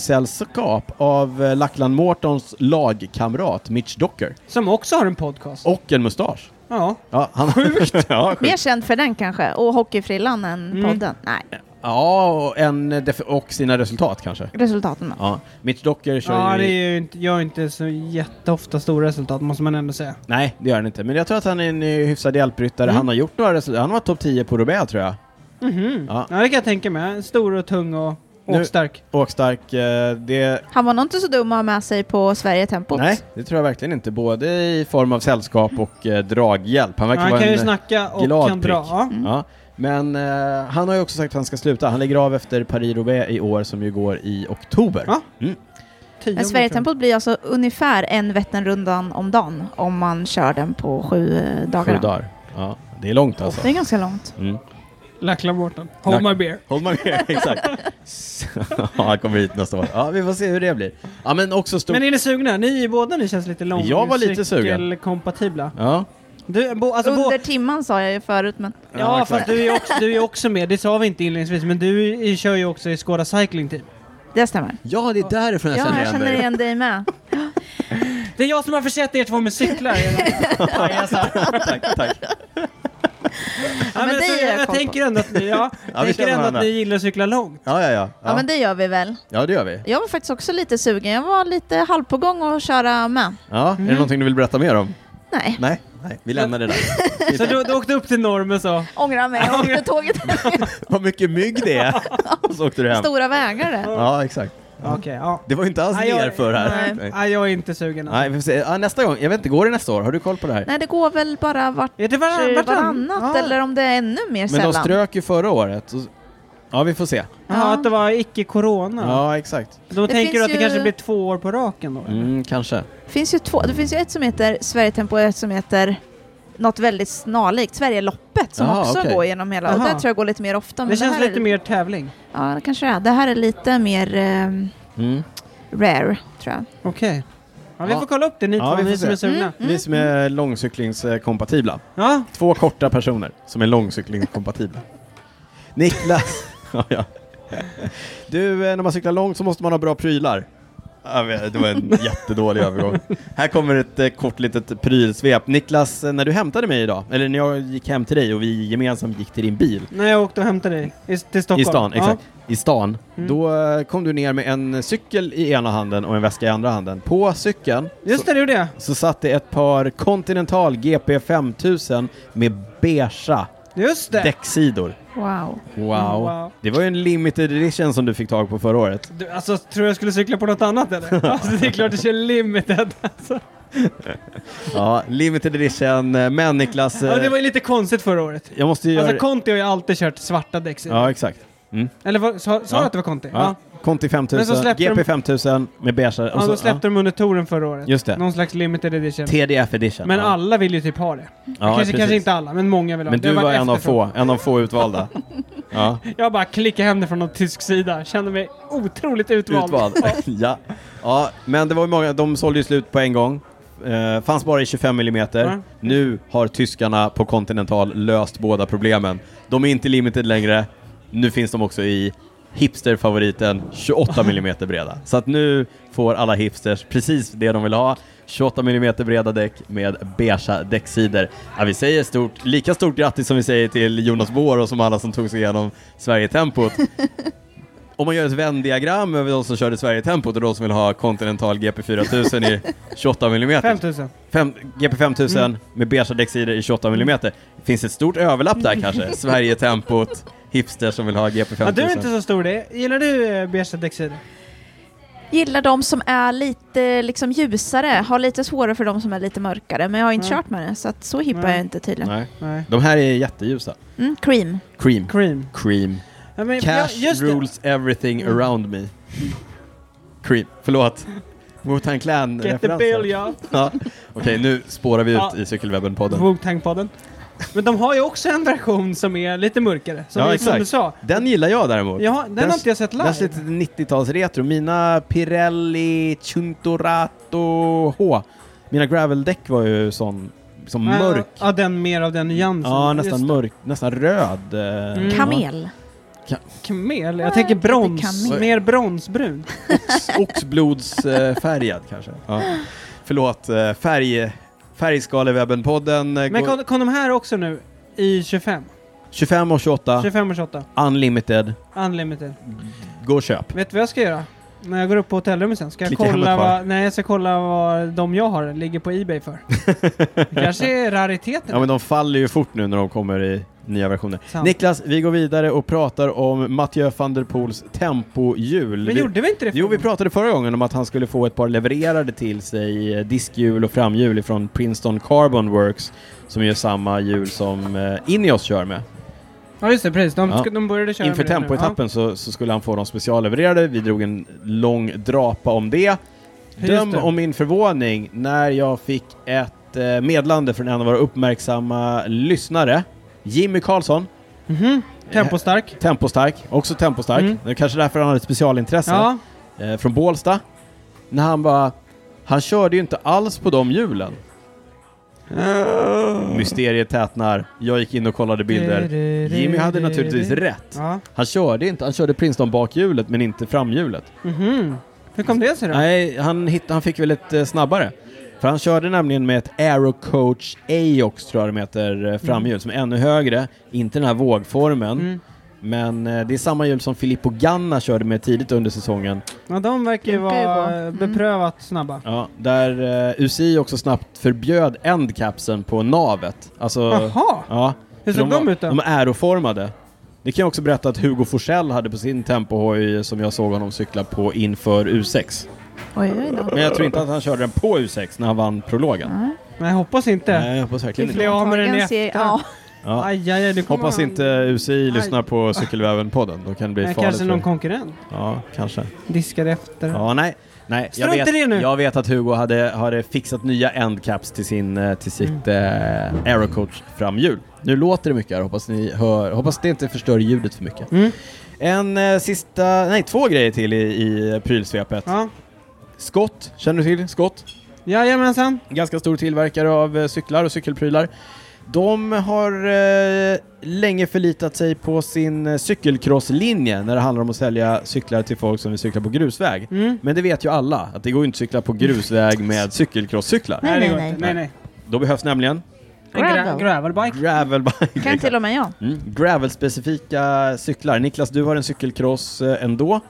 Speaker 1: proffssällskap av eh, Lackland Mortons lagkamrat Mitch Docker.
Speaker 2: Som också har en podcast.
Speaker 1: Och en mustasch.
Speaker 2: Ja.
Speaker 1: Ja, han... Sjukt! ja, sjukt.
Speaker 3: Mer känd för den kanske, och hockeyfrillan än
Speaker 2: Mm.
Speaker 3: podden. Nej,
Speaker 1: ja och, en def- och sina resultat kanske.
Speaker 3: resultaten.
Speaker 1: Ja, Mitch Docker kör
Speaker 2: Ja,
Speaker 1: ju...
Speaker 2: det är ju inte, gör inte så jätteofta stora resultat måste man ändå säga.
Speaker 1: Nej, det gör han inte. Men jag tror att han är en eh, hyfsad hjälpryttare.
Speaker 2: Mm.
Speaker 1: Han har gjort några resultat. Han var topp 10 på Roubaix tror jag.
Speaker 2: Mhm.
Speaker 1: Ja.
Speaker 2: Ja. det kan jag tänka mig. Stor och tung och
Speaker 1: Nu-
Speaker 2: åkstark.
Speaker 1: Åkstark, eh, det...
Speaker 3: Han var nog inte så dum att ha med sig på Sverigetempot.
Speaker 1: Nej, det tror jag verkligen inte. Både i form av sällskap och eh, draghjälp. Han
Speaker 2: Ja,
Speaker 1: verkar
Speaker 2: Han
Speaker 1: vara
Speaker 2: kan ju
Speaker 1: en... eh,
Speaker 2: snacka Mm. och
Speaker 1: glad
Speaker 2: kan dra.
Speaker 1: prick.
Speaker 2: Ja.
Speaker 1: Ja. Men eh, han har ju också sagt att han ska sluta. Han lägger av efter Paris-Roubaix i år som ju går i oktober.
Speaker 2: Ja.
Speaker 1: Mm.
Speaker 2: Tio
Speaker 3: Men
Speaker 2: om
Speaker 3: Sverigetempot blir alltså ungefär en Vätternrundan om dagen om man kör den på sju eh, dagar.
Speaker 1: Sju dagar. Ja. Det är långt alltså.
Speaker 3: Det är ganska långt.
Speaker 1: Mm.
Speaker 2: tror jag. Lackland Morton. Hold
Speaker 1: Lack-
Speaker 2: my beer.
Speaker 1: Håll man med, exakt. Så- Ja, han kommer hit nästa år. Ja, vi får se hur det blir. Ja, men också stor...
Speaker 2: Men är ni sugna? Ni båda ni känns lite lång.
Speaker 1: Jag var lite sugen.
Speaker 2: Cykelkompatibla.
Speaker 1: Ja.
Speaker 2: Du, bo, alltså, bo,
Speaker 3: Under timman sa jag ju förut, men
Speaker 1: Ja,
Speaker 2: ja,
Speaker 1: exakt.
Speaker 2: fast du är, också, du är också med. Det sa vi inte inledningsvis, men du i- kör ju också i Skåda Cycling typ. Team.
Speaker 3: det stämmer.
Speaker 1: ja, det är därifrån
Speaker 3: Ja, jag känner igen dig med.
Speaker 2: Det är jag som har försett er två med cyklar. Pajasar.
Speaker 1: tack, tack.
Speaker 2: Ja, men
Speaker 3: det
Speaker 2: så
Speaker 3: gör jag
Speaker 2: jag
Speaker 3: koll på.
Speaker 2: tänker ändå att ni, ja, tänker
Speaker 1: känner
Speaker 2: ändå
Speaker 1: varandra.
Speaker 2: att ni gillar att cykla långt.
Speaker 1: Ja, ja, ja.
Speaker 3: Ja, men det gör vi väl.
Speaker 1: ja, det gör vi.
Speaker 3: Jag var faktiskt också lite sugen. Jag var lite halv på gång att köra med.
Speaker 1: Ja, Är det någonting du vill berätta mer om?
Speaker 3: Nej,
Speaker 1: Nej, Nej vi lämnar det där.
Speaker 2: Så du, du åkte upp till normen så.
Speaker 3: ångrar mig. Jag åkte tåget.
Speaker 1: Vad mycket mygg det är! Och så åkte du hem.
Speaker 3: Stora vägar det.
Speaker 1: Ja, exakt.
Speaker 2: Okej, ja.
Speaker 1: Det var ju inte alls
Speaker 2: Nej, jag-
Speaker 1: nerför här.
Speaker 2: Nej, nej, jag är inte sugen.
Speaker 1: Nej,
Speaker 2: Alltså.
Speaker 1: vi får se. Ja, nästa gång. Jag vet inte, går det nästa år? Har du koll på det här?
Speaker 3: Nej, det går väl bara vart
Speaker 2: Är det varann,
Speaker 3: vartannat
Speaker 2: vartannat?
Speaker 3: varannat
Speaker 2: ja.
Speaker 3: eller om det är ännu mer
Speaker 1: Men de
Speaker 3: sällan.
Speaker 1: strök ju förra året. så- Ja, vi får se.
Speaker 2: Ja, att det var icke-corona.
Speaker 1: Ja, exakt.
Speaker 2: Då
Speaker 3: Det
Speaker 2: tänker du
Speaker 3: finns
Speaker 2: att det
Speaker 3: ju-
Speaker 2: kanske blir två år på raken då? eller?
Speaker 1: Mm, kanske.
Speaker 3: Det finns ju två. Det finns ju ett som heter Sverigetempo och ett som heter något väldigt snarlikt, Sverigeloppet, som
Speaker 1: Jaha,
Speaker 3: också
Speaker 1: okej.
Speaker 3: går genom hela. Och
Speaker 2: Jaha.
Speaker 3: det tror jag går lite mer ofta. men
Speaker 2: Det känns
Speaker 3: här är-
Speaker 2: lite mer tävling.
Speaker 3: Ja, det kanske det är. Det här är lite mer ehm,
Speaker 1: Mm.
Speaker 3: rare, tror jag.
Speaker 2: Okej. Ja, vi
Speaker 1: Ja.
Speaker 2: får kolla upp det ni
Speaker 1: Ja, vi
Speaker 2: två,
Speaker 1: får
Speaker 2: ni som
Speaker 1: se.
Speaker 2: är sugna.
Speaker 3: Mm.
Speaker 1: Vi som är långcyklingskompatibla.
Speaker 2: Ja,
Speaker 1: Två korta personer som är långcyklingskompatibla. Niklas! ja, ja. Du, eh, när man cyklar långt så måste man ha bra prylar. Jag vet, Det var en jättedålig övergång. Här kommer ett eh, kort litet prylsvep. Niklas, eh, när du hämtade mig idag, eller när jag gick hem till dig och vi gemensamt gick till din bil
Speaker 2: när jag åkte och hämtade dig i, till Stockholm.
Speaker 1: i stan, exakt, i stan,
Speaker 2: Mm.
Speaker 1: då eh, kom du ner med en cykel i ena handen och en väska i andra handen. På cykeln
Speaker 2: Ja. Just det, du det.
Speaker 1: så satt det ett par Continental GP 5000 med beigea
Speaker 2: Just det. Mm,
Speaker 1: däcksidor.
Speaker 3: Wow.
Speaker 1: Wow.
Speaker 2: Wow.
Speaker 1: Det var ju en limited edition som du fick tag på förra året.
Speaker 2: Du, alltså, tror jag skulle cykla på något annat eller? alltså, det är klart du kör limited. Alltså.
Speaker 1: Ja, limited edition. eh, Men Niklas, eh,
Speaker 2: Ja, det var ju lite konstigt förra året.
Speaker 1: jag måste ju
Speaker 2: Alltså
Speaker 1: göra...
Speaker 2: Conti har ju alltid kört svarta däck. Ja.
Speaker 1: Ja, exakt. Mm.
Speaker 2: Eller vad- sa, sa
Speaker 1: Ja.
Speaker 2: du att det var Conti? Ja.
Speaker 1: Ja. Conti
Speaker 2: Men så
Speaker 1: 5000,
Speaker 2: släppte
Speaker 1: GP
Speaker 2: de-
Speaker 1: 5000 med beigea. och
Speaker 2: Ja,
Speaker 1: så-
Speaker 2: då släppte de under touren förra året.
Speaker 1: Just det.
Speaker 2: Någon slags limited edition.
Speaker 1: TDF edition.
Speaker 2: Men
Speaker 1: ja.
Speaker 2: alla vill ju typ ha det.
Speaker 1: Ja,
Speaker 2: kanske, kanske
Speaker 1: precis.
Speaker 2: inte alla, men många vill ha
Speaker 1: Men
Speaker 2: det.
Speaker 1: du
Speaker 2: Det har
Speaker 1: var
Speaker 2: varit
Speaker 1: en av
Speaker 2: efterfrågan.
Speaker 1: få, en av få utvalda. Ja,
Speaker 2: Jag bara klickade hem det från någon tysk sida. Kände mig otroligt utvald.
Speaker 1: utvald. ja. ja, men det var ju många, de sålde ju slut på en gång. Eh, fanns bara i 25 mm.
Speaker 2: Ja.
Speaker 1: Nu har tyskarna på Continental löst båda problemen. De är inte limited längre. Nu finns de också i hipsterfavoriten 28 mm breda. Så att nu får alla hipsters precis det de vill ha. 28 mm breda däck med beigea däcksidor. Ja, vi säger stort, lika stort grattis som vi säger till Jonas Bohr och som alla som tog sig igenom Sverigetempot. Om man gör ett vändiagram över de som körde Sverigetempot och de som vill ha Continental GP4000 i 28 mm.
Speaker 2: 5000.
Speaker 1: Fem, GP5000
Speaker 2: Mm.
Speaker 1: med beigea däcksidor i 28 mm. Finns ett stort överlapp där kanske? Sverigetempot, hipster som vill ha GP5000.
Speaker 2: Ja, du är inte så stor det. Gillar du eh, beiga däcksidor?
Speaker 3: Gillar de som är lite liksom ljusare, har lite svårare för de som är lite mörkare. Men jag har inte
Speaker 2: Mm.
Speaker 3: kört med det, så att så hipp är
Speaker 2: Nej.
Speaker 3: jag inte tydligen.
Speaker 1: Nej.
Speaker 2: Nej.
Speaker 1: De här är jätteljusa.
Speaker 3: Mm, cream.
Speaker 1: Cream.
Speaker 2: Cream.
Speaker 1: Cream.
Speaker 2: Ja, men,
Speaker 1: Cash
Speaker 2: ja, just det. Mm.
Speaker 1: rules everything around me. Cream. Förlåt. Wu-Tang Clan
Speaker 2: Get the bill,
Speaker 1: referenser.
Speaker 2: ja.
Speaker 1: Ja. Okej, nu spårar vi ut
Speaker 2: Ja.
Speaker 1: i Cykelwebben-podden.
Speaker 2: Wu-Tang-podden. Men de har ju också en version som är lite mörkare, som,
Speaker 1: Ja,
Speaker 2: vi- som
Speaker 1: exakt.
Speaker 2: du sa.
Speaker 1: Den gillar jag däremot.
Speaker 2: Ja, den, har inte jag sett
Speaker 1: Den är
Speaker 2: live.
Speaker 1: lite 90-talsretro. Mina Pirelli Cinturato H. Mina graveldäck var ju sån, som
Speaker 2: Ja,
Speaker 1: mörk.
Speaker 2: Ja, den mer av den nyansen.
Speaker 1: Ja,
Speaker 2: Just
Speaker 1: nästan
Speaker 2: det.
Speaker 1: mörk, nästan röd. eh,
Speaker 2: Mm.
Speaker 3: Kamel.
Speaker 2: Kamel?
Speaker 3: Nej,
Speaker 2: Jag tänker
Speaker 3: inte
Speaker 2: brons.
Speaker 3: kamel.
Speaker 2: Mer bronsbrun.
Speaker 1: Ox, oxblodsfärgad kanske. Ja. Förlåt, eh, färg, Färgskalewebben-podden. eh,
Speaker 2: Men
Speaker 1: går-
Speaker 2: kom, kom de här också nu? I 25?
Speaker 1: 25 och 28,
Speaker 2: 25 och 28?
Speaker 1: unlimited.
Speaker 2: Unlimited.
Speaker 1: Gå och köp.
Speaker 2: Vet du vad jag ska göra? När jag går upp på hotellrummet sen, ska jag
Speaker 1: Klicka
Speaker 2: kolla
Speaker 1: hemmet bara.
Speaker 2: vad, nej, jag ska kolla vad de jag har ligger på Ebay för. Det kanske är rariteten.
Speaker 1: Ja, men de faller ju fort nu när de kommer i nya versioner.
Speaker 2: Sant.
Speaker 1: Niklas, vi går vidare och pratar om Mathieu van der Poels tempohjul.
Speaker 2: men
Speaker 1: Vi-
Speaker 2: gjorde vi inte det
Speaker 1: Jo, vi
Speaker 2: förut?
Speaker 1: pratade förra gången om att han skulle få ett par levererade till sig, eh, diskhjul och framhjul från Princeton Carbon Works, som gör samma hjul som eh, Ineos kör med.
Speaker 2: Ja, just det, precis. De,
Speaker 1: Ja.
Speaker 2: ska- de började köra
Speaker 1: Inför
Speaker 2: med det nu.
Speaker 1: tempoetappen så, så skulle han få dem speciallevererade. Vi drog en lång drapa om det.
Speaker 2: Just
Speaker 1: Döm
Speaker 2: det.
Speaker 1: om min förvåning när jag fick ett eh, meddelande från en av våra uppmärksamma lyssnare, Jimmy Karlsson.
Speaker 2: Ja. Mhm. Tempostark.
Speaker 1: Tempostark, också tempostark.
Speaker 2: Mm.
Speaker 1: Det är kanske därför han har ett specialintresse.
Speaker 2: Ja.
Speaker 1: Eh, från Bålsta. När han bara... Han körde ju inte alls på de hjulen.
Speaker 2: Mm.
Speaker 1: Mysteriet tätnar. Jag gick in och kollade bilder. Jimmy hade naturligtvis rätt.
Speaker 2: Ja.
Speaker 1: Han körde inte. Han körde Princeton bakhjulet men inte framhjulet.
Speaker 2: Mhm. Hur kom det sig då?
Speaker 1: Nej, han, hitt, han fick väl ett eh, snabbare. För han körde nämligen med ett Aero Coach Aox tror jag de heter, eh, framhjul som är ännu högre. Inte den här vågformen.
Speaker 2: Mm.
Speaker 1: Men eh, det är samma hjul som Filippo Ganna körde med tidigt under säsongen.
Speaker 2: Ja, de verkar ju
Speaker 3: Funkar ju
Speaker 2: vara
Speaker 3: bra.
Speaker 2: eh,
Speaker 3: Mm.
Speaker 2: beprövat snabba.
Speaker 1: Ja, där eh, UCI också snabbt förbjöd endcapsen på navet. Alltså,
Speaker 2: Jaha!
Speaker 1: ja,
Speaker 2: Hur
Speaker 1: för
Speaker 2: såg de
Speaker 1: var-
Speaker 2: ut då?
Speaker 1: De är aeroformade. Det kan jag också berätta att Hugo Forsell hade på sin tempohoj som jag såg honom cykla på inför U6.
Speaker 3: Oj, oj, då.
Speaker 1: Men jag tror inte att han körde den på U6 när han vann prologen.
Speaker 3: Nej.
Speaker 2: Nej, jag hoppas inte.
Speaker 1: Nej, jag hoppas verkligen
Speaker 2: Fiffliga
Speaker 1: inte.
Speaker 2: av med den i
Speaker 3: Antagligen ser-
Speaker 2: efterhand.
Speaker 3: ja.
Speaker 1: Ja.
Speaker 2: Aj, aj, aj, nu kommer
Speaker 1: Hoppas
Speaker 2: han.
Speaker 1: inte UCI lyssnar på Cykelväven-podden. Då kan det bli
Speaker 2: Nej,
Speaker 1: farligt.
Speaker 2: kanske någon
Speaker 1: För...
Speaker 2: konkurrent
Speaker 1: Ja, kanske.
Speaker 2: diskar efter.
Speaker 1: Ja, nej. nej jag,
Speaker 2: Strunt i
Speaker 1: vet,
Speaker 2: det nu.
Speaker 1: jag vet att Hugo hade, hade fixat nya endcaps till, sin, eh, till sitt
Speaker 2: Mm.
Speaker 1: eh, Aerocoach framhjul. Nu låter det mycket här, hoppas, ni hör, hoppas det inte förstör ljudet för mycket.
Speaker 2: Mm.
Speaker 1: En eh, sista, nej två grejer till i, i prylsvepet.
Speaker 2: Ja.
Speaker 1: Skott, känner du till Skott?
Speaker 2: Jajamensan.
Speaker 1: Ganska stor tillverkare av eh, cyklar och cykelprylar. De har eh, länge förlitat sig på sin eh, cykelcrosslinje när det handlar om att sälja cyklar till folk som vill cykla på grusväg.
Speaker 2: Mm.
Speaker 1: Men det vet ju alla, att det går ju inte att cykla på grusväg med cykelcrosscyklar.
Speaker 3: Nej,
Speaker 2: det går
Speaker 3: nej,
Speaker 2: inte.
Speaker 1: nej.
Speaker 2: nej.
Speaker 1: Då behövs nämligen
Speaker 2: En gra-
Speaker 3: Gravel.
Speaker 2: gravelbike.
Speaker 1: gravelbike.
Speaker 3: Kan till och med jag.
Speaker 1: mm. Gravelspecifika cyklar. Niklas, du har en cykelcross eh, ändå.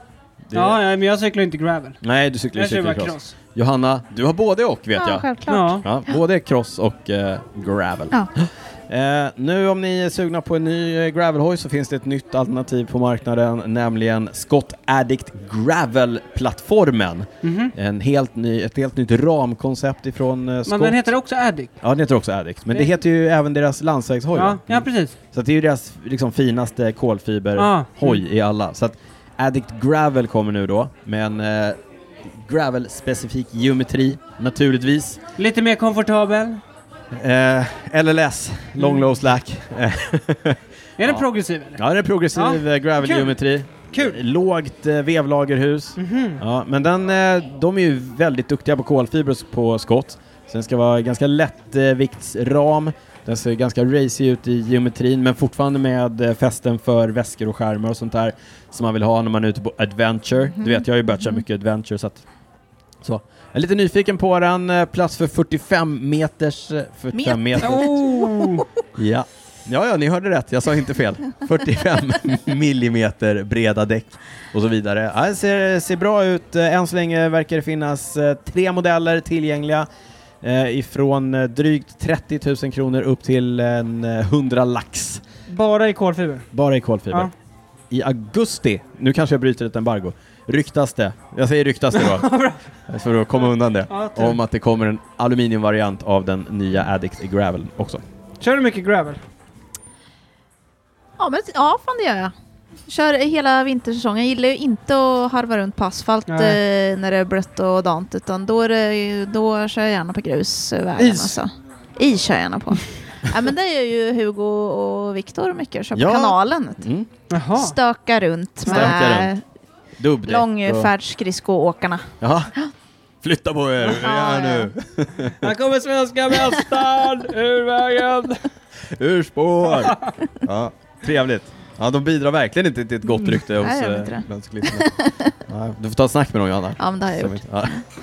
Speaker 1: Det-
Speaker 2: Ja, ja, men jag cyklar inte gravel.
Speaker 1: Nej, du cyklar ju
Speaker 2: Jag kör bara
Speaker 1: cykelcross.
Speaker 2: cross.
Speaker 1: Johanna, du har både och vet
Speaker 3: Ja,
Speaker 1: jag.
Speaker 3: självklart.
Speaker 2: Ja.
Speaker 1: Ja, både cross och eh, gravel.
Speaker 3: Ja.
Speaker 1: Eh, nu om ni är sugna på en ny eh, gravelhoj så finns det ett nytt alternativ på marknaden, nämligen Scott Addict Gravel-plattformen.
Speaker 2: Mhm.
Speaker 1: En helt ny, ett helt nytt ramkoncept ifrån eh, Scott.
Speaker 2: Men den heter också Addict.
Speaker 1: Ja, den heter också Addict, men det
Speaker 2: Det-
Speaker 1: heter ju även deras landsvägshoj.
Speaker 2: Ja,
Speaker 1: va? Mm.
Speaker 2: ja, precis.
Speaker 1: Så att det är ju deras liksom, finaste
Speaker 2: Ja.
Speaker 1: kolfiberhoj i alla. Så att Addict Gravel kommer nu då, med en eh, gravel-specifik geometri naturligtvis.
Speaker 2: Lite mer komfortabel.
Speaker 1: Eh, LLS, long
Speaker 2: Mm.
Speaker 1: low slack. Eh,
Speaker 2: Är den
Speaker 1: Ja.
Speaker 2: progressiv eh, eller?
Speaker 1: ja, det är progressiv ja.
Speaker 2: kul.
Speaker 1: gravelgeometri.
Speaker 2: Kul!
Speaker 1: Lågt eh, vevlagerhus.
Speaker 2: Mhm.
Speaker 1: Ja, men den, eh, de är ju väldigt duktiga på kolfiber och på skott. Så den ska vara ganska lätt eh, viktsram. Den ser ganska racy ut i geometrin men fortfarande med eh, fästen för väskor och skärmar och sånt där som man vill ha när man är ute på adventure. Du vet, jag har ju börjat köra mycket adventure så att... Så. Jag är lite nyfiken på den. eh, Plats för 45 meters... eh, 45 meters...
Speaker 2: Oh.
Speaker 1: Ja. Ja, ja, ni hörde rätt. Jag sa inte fel. 45 millimeter breda däck och så vidare. Ja, det ser, ser bra ut. Eh, Än så länge verkar det finnas eh, tre modeller tillgängliga. Eh, ifrån eh, drygt 30 000 kronor upp till en eh, 100 lax.
Speaker 2: Bara i kolfiber.
Speaker 1: Bara i kolfiber.
Speaker 2: Ja.
Speaker 1: I augusti, nu kanske jag bryter ett embargo, ryktas det, jag säger ryktas det då, för att komma undan det,
Speaker 2: Ja, typ. tur.
Speaker 1: om att det kommer en aluminiumvariant av den nya Addict Gravel också.
Speaker 2: Kör du mycket gravel?
Speaker 3: Ja, men, ja, fan det gör jag. Kör hela vintersäsongen. Jag gillar ju inte att harva runt på asfalt eh, när det är blött och dant utan då, är det, ju- då kör jag gärna på grus. eh, vägarna,
Speaker 2: Is.
Speaker 3: Så. Is kör jag gärna på. Ja, men det gör ju Hugo och Viktor mycket, som
Speaker 1: Ja.
Speaker 3: kanalen.
Speaker 1: Mm.
Speaker 2: Jaha.
Speaker 3: Stöka runt med
Speaker 1: Stöka Dubbdäck.
Speaker 3: långfärdsskridskoåkarna.
Speaker 1: och- Ja. Flytta på er.
Speaker 3: Ja,
Speaker 1: Ja, nu.
Speaker 2: Här kommer svenska mästaren ur vägen!
Speaker 1: Ur spår. Ja, trevligt. Ja, de bidrar verkligen inte till ett gott rykte hos
Speaker 3: Mm. Nej, jag vet
Speaker 1: eh,
Speaker 3: inte det.
Speaker 1: bland cyklisterna. Nej, Du får ta ett snack med dem Johanna.
Speaker 3: Ja, men det har jag
Speaker 1: Som
Speaker 3: gjort.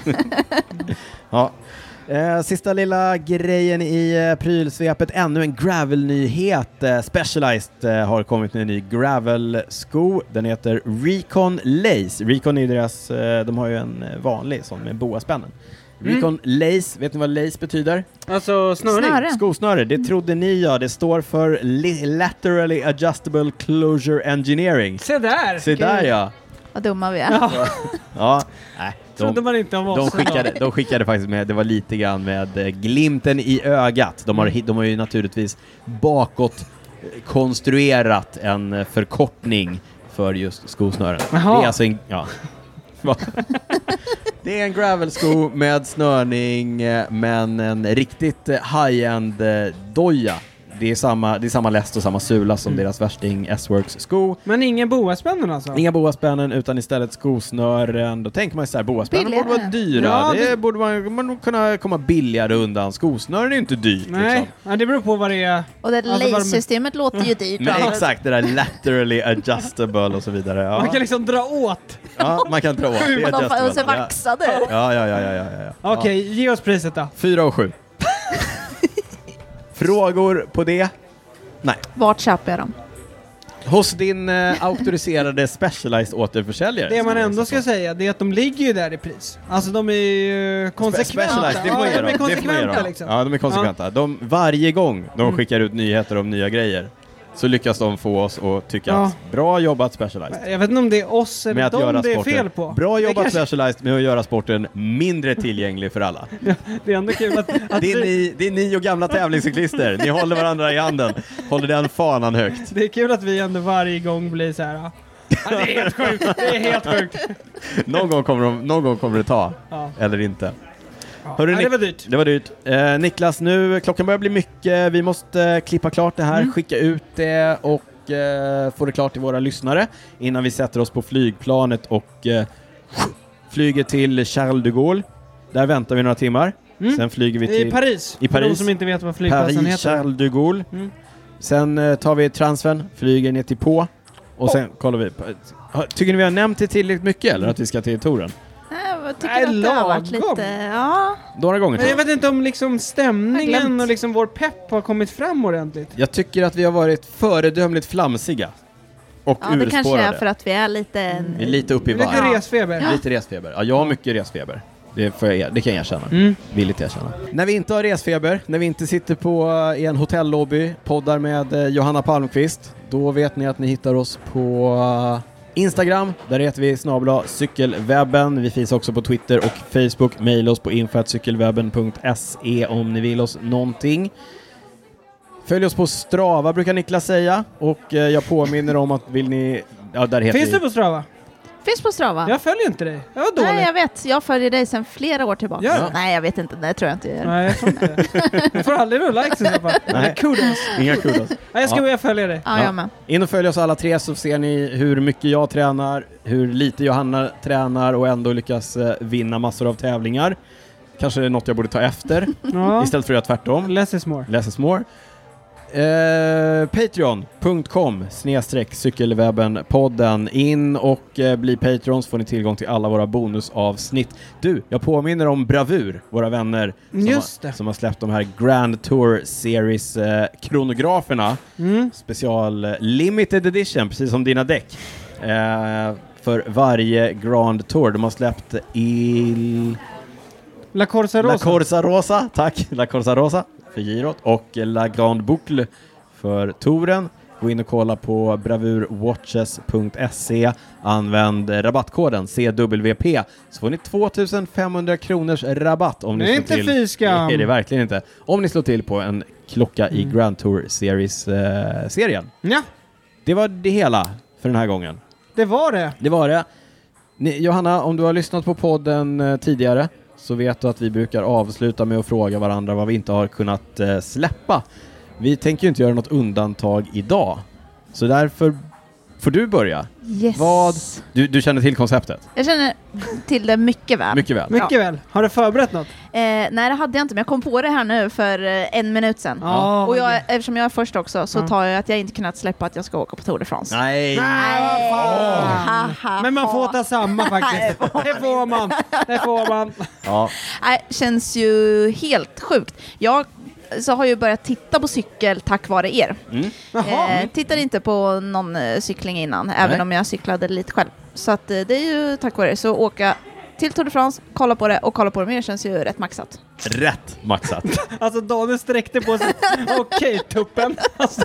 Speaker 1: inte- Ja. ja. Eh, sista lilla grejen i eh, prylsvepet, ännu en gravelnyhet. Eh, Specialized eh, har kommit med en ny gravelsko. Den heter Recon Lace. Recon är ju deras, eh, de har ju en eh, vanlig sån med boaspännen.
Speaker 2: Mm.
Speaker 1: Recon Lace, vet ni vad Lace betyder?
Speaker 2: Alltså snurrig.
Speaker 3: Snöre.
Speaker 1: Skosnöre, det trodde ni ja. Det står för li- Laterally Adjustable Closure Engineering.
Speaker 2: Se där!
Speaker 1: Se där ja.
Speaker 3: Vad dumma vi är.
Speaker 2: Ja,
Speaker 1: ja. Nej,
Speaker 2: trodde
Speaker 1: de,
Speaker 2: man inte om oss.
Speaker 1: de, skickade, de skickade faktiskt med, det var lite grann med eh, glimten i ögat. De har, hit- de har ju naturligtvis bakåt eh, konstruerat en eh, förkortning för just skosnören.
Speaker 2: Jaha.
Speaker 1: Det är alltså en... Ja. Va? det är en gravelsko med snörning eh, men en riktigt eh, high-end eh, doja. Det är, samma, det är samma läst och samma sula som deras värsting S-Works sko.
Speaker 2: Men ingen boaspännen alltså?
Speaker 1: Inga boaspännen utan istället skosnören. Då tänker man ju så här, boaspännen borde
Speaker 3: Billigare.
Speaker 1: vara dyra.
Speaker 2: Ja,
Speaker 1: det
Speaker 2: det-
Speaker 1: borde man, man nog kunna komma billigare undan. Skosnören är ju inte dyrt.
Speaker 2: Nej,
Speaker 1: Liksom.
Speaker 2: ja, det beror på vad det är.
Speaker 3: Och det
Speaker 2: Alltså, var de-
Speaker 3: lasersystemet låter ju dyrt.
Speaker 1: Mm. Men
Speaker 3: va?
Speaker 1: exakt, det där laterally adjustable och så vidare. Ja,
Speaker 2: Man kan liksom dra åt.
Speaker 1: ja, man kan dra åt. Det är
Speaker 3: Och de får- och så
Speaker 1: adjustable.
Speaker 3: vaxade.
Speaker 1: Ja, ja, ja, ja, ja, ja, ja.
Speaker 2: Okej, ge oss priset då.
Speaker 1: Fyra och sju. Frågor på det? Nej.
Speaker 3: Vart köper jag dem?
Speaker 1: Hos din eh, auktoriserade specialized återförsäljare.
Speaker 2: Det man
Speaker 1: som
Speaker 2: ändå
Speaker 1: är-
Speaker 2: ska säga det är att de ligger ju där i pris. Alltså de är ju konsekventa.
Speaker 1: Specialized, det får
Speaker 2: ja,
Speaker 1: jag
Speaker 2: de
Speaker 1: dem.
Speaker 2: är
Speaker 1: Det får jag
Speaker 2: konsekventa
Speaker 1: dem.
Speaker 2: liksom. Mm.
Speaker 1: Ja, de är konsekventa. De, varje gång de skickar ut nyheter om nya grejer så lyckas de få oss att tycka
Speaker 2: Ja.
Speaker 1: att bra jobbat Specialized.
Speaker 2: Jag vet inte om det är oss
Speaker 1: Med
Speaker 2: eller
Speaker 1: att
Speaker 2: dem
Speaker 1: göra
Speaker 2: det är
Speaker 1: sporten.
Speaker 2: fel på.
Speaker 1: Bra jobbat
Speaker 2: kanske-
Speaker 1: Specialized med att göra sporten mindre tillgänglig för alla.
Speaker 2: Det är ändå kul att, att
Speaker 1: Det är
Speaker 2: vi,
Speaker 1: ni, det är ni och gamla tävlingscyklister. Ni håller varandra i handen. Håller den fanan högt.
Speaker 2: det är kul att vi ändå varje gång blir så här. Ja, Ja, det är helt sjukt. Det är helt sjukt.
Speaker 1: Någon gång kommer, de, någon gång kommer det ta.
Speaker 2: Ja.
Speaker 1: Eller inte.
Speaker 2: Ja.
Speaker 1: Hörru,
Speaker 2: ja,
Speaker 1: Nick-
Speaker 2: det var dyrt.
Speaker 1: Det var dyrt. Eh, Niklas, nu klockan börjar bli mycket. Vi måste eh, klippa klart det
Speaker 2: Mm.
Speaker 1: här, skicka ut det och eh, få det klart till våra lyssnare innan vi sätter oss på flygplanet och eh, flyger till Charles de Gaulle. Där väntar vi några timmar.
Speaker 2: Mm.
Speaker 1: Sen flyger vi
Speaker 2: I
Speaker 1: till
Speaker 2: Paris.
Speaker 1: I Paris.
Speaker 2: För de som inte vet vad flygplatsen
Speaker 1: Paris,
Speaker 2: heter.
Speaker 1: Charles de Gaulle.
Speaker 2: Mm.
Speaker 1: Sen eh, tar vi transfern, flyger ner till Pau och sen kollar vi. på- Har- Tycker ni vi har nämnt det tillräckligt mycket eller att vi ska till touren?
Speaker 3: Nej, jag tycker
Speaker 2: Nej,
Speaker 3: att det har varit
Speaker 2: lagom.
Speaker 3: lite... Ja.
Speaker 1: Några gånger
Speaker 2: Men
Speaker 1: till.
Speaker 2: jag vet inte om liksom
Speaker 3: Jag har
Speaker 2: stämningen
Speaker 3: glömt.
Speaker 2: och liksom vår pepp har kommit fram ordentligt.
Speaker 1: Jag tycker att vi har varit föredömligt flamsiga. Och
Speaker 3: ja, det kanske är
Speaker 1: urspårade. Mm.
Speaker 3: för att vi är lite...
Speaker 1: Vi är lite uppe i varv.
Speaker 2: Lite
Speaker 1: Lite,
Speaker 2: resfeber.
Speaker 1: resfeber. Ja, jag har mycket resfeber. Det, får jag, det kan jag erkänna.
Speaker 2: Mm.
Speaker 1: Villigt erkänna. När vi inte har resfeber, när vi inte sitter på, eh, i en hotellobby, poddar med eh, Johanna Palmqvist, då vet ni att ni hittar oss på eh, Instagram, där heter vi snabla cykelwebben. Vi finns också på Twitter och Facebook. Maila oss på info.cykelwebben.se om ni vill oss någonting. Följ oss på Strava brukar Niklas säga och eh, jag påminner om att vill ni... Ja, där heter
Speaker 2: Finns
Speaker 1: vi.
Speaker 2: du på Strava?
Speaker 3: Finns på Strava.
Speaker 2: Jag följer inte dig. Jag var dålig.
Speaker 3: Nej, jag vet. Jag följer dig sedan flera år tillbaka.
Speaker 2: Gör du?
Speaker 3: Nej, jag vet inte. Det tror jag inte jag gör.
Speaker 2: Nej, jag tror inte det. Du får aldrig några likes i alla fall.
Speaker 1: Nej.
Speaker 2: Kudos.
Speaker 1: Inga kudos.
Speaker 2: Nej, jag ska
Speaker 1: Ja.
Speaker 2: börja följa dig.
Speaker 3: Ja,
Speaker 1: Ja.
Speaker 3: jag med.
Speaker 1: In och följ oss alla tre så ser ni hur mycket jag tränar, hur lite Johanna tränar och ändå lyckas eh, vinna massor av tävlingar. Kanske är något jag borde ta efter
Speaker 2: Ja.
Speaker 1: istället för att göra tvärtom.
Speaker 2: Less is more.
Speaker 1: Less is more. Eh, Patreon.com snedstreck cykelwebben-podden. In och eh, bli Patreon så får ni tillgång till alla våra bonusavsnitt. Du, jag påminner om Bravur, våra vänner som,
Speaker 2: Just
Speaker 1: har,
Speaker 2: det.
Speaker 1: som har släppt de här Grand Tour eh, Series-kronograferna
Speaker 2: Mm.
Speaker 1: special eh, limited edition, precis som dina däck. Eh, för varje Grand Tour. De har släppt Il...
Speaker 2: La Corsa
Speaker 1: La
Speaker 2: Rosa.
Speaker 1: Corsa Rosa, tack! La Corsa Rosa för girot och La Grande Boucle för touren. Gå in och kolla på bravurwatches.se. Använd eh, rabattkoden CWP så får ni 2500 kronors rabatt om ni
Speaker 2: Det är
Speaker 1: slår
Speaker 2: inte
Speaker 1: till.
Speaker 2: fy skam. Mm.
Speaker 1: Det är det verkligen inte. Om ni slår till på en klocka i Grand Tour eh, Series-serien.
Speaker 2: Ja,
Speaker 1: Det var det hela för den här gången.
Speaker 2: det var det.
Speaker 1: Det var det. Ni, Johanna, om du har lyssnat på podden eh, tidigare så vet du att vi brukar avsluta med att fråga varandra vad vi inte har kunnat eh, släppa. Vi tänker ju inte göra något undantag idag. Så därför får du börja.
Speaker 3: Yes.
Speaker 1: Vad? Du, du känner till konceptet?
Speaker 3: Jag känner till det mycket väl.
Speaker 1: Mycket väl.
Speaker 2: Mycket väl. Har du förberett något?
Speaker 3: Eh, nej, det hade jag inte, men jag kom på det här nu för eh, en minut sedan.
Speaker 2: Ja.
Speaker 3: Och jag, eftersom jag är först också så
Speaker 2: Ja.
Speaker 3: tar jag att jag inte kunnat släppa att jag ska åka på Tour de France. Ah.
Speaker 1: Nej!
Speaker 3: Nej. Ha, ha,
Speaker 2: Men man får
Speaker 3: ha.
Speaker 2: ta samma faktiskt. Det får man. Det får man.
Speaker 1: Ja.
Speaker 3: Nej, känns ju helt sjukt. Jag så har ju börjat titta på cykel tack vare er.
Speaker 1: Mm.
Speaker 2: Jaha.
Speaker 3: Eh, tittade inte på någon eh, cykling innan,
Speaker 1: Nej.
Speaker 3: även om jag cyklade lite själv. Så att, eh, det är ju tack vare er. Så åka till Tour de France, kolla på det och kolla på det mer känns ju rätt maxat.
Speaker 1: Rätt maxat.
Speaker 2: Alltså Daniel sträckte på sig. Okej, tuppen. Alltså,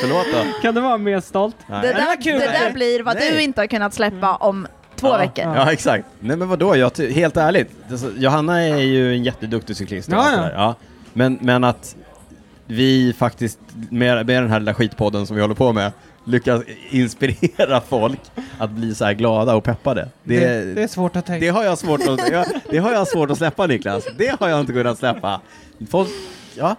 Speaker 1: Förlåt då.
Speaker 2: kan du vara mer stolt?
Speaker 1: Nej.
Speaker 3: Det
Speaker 2: det var
Speaker 3: där,
Speaker 2: kul. Mm.
Speaker 3: det där blir vad
Speaker 1: Nej.
Speaker 3: du inte har kunnat släppa om två
Speaker 1: ja,
Speaker 3: veckor.
Speaker 1: Ja, exakt. Nej men vadå, jag ty- helt ärligt. Alltså, Johanna är ju en jätteduktig cyklist. och
Speaker 2: Ja,
Speaker 1: allt
Speaker 2: ja.
Speaker 1: det där. Ja. Men, men att vi faktiskt, med, med den här lilla skitpodden som vi håller på med, lyckas inspirera folk att bli så här glada och peppade. Det,
Speaker 2: Det,
Speaker 1: det,
Speaker 2: det är svårt att tänka.
Speaker 1: har jag svårt att, jag, det har jag svårt att släppa Niklas. Det har jag inte kunnat släppa. Folk, ja,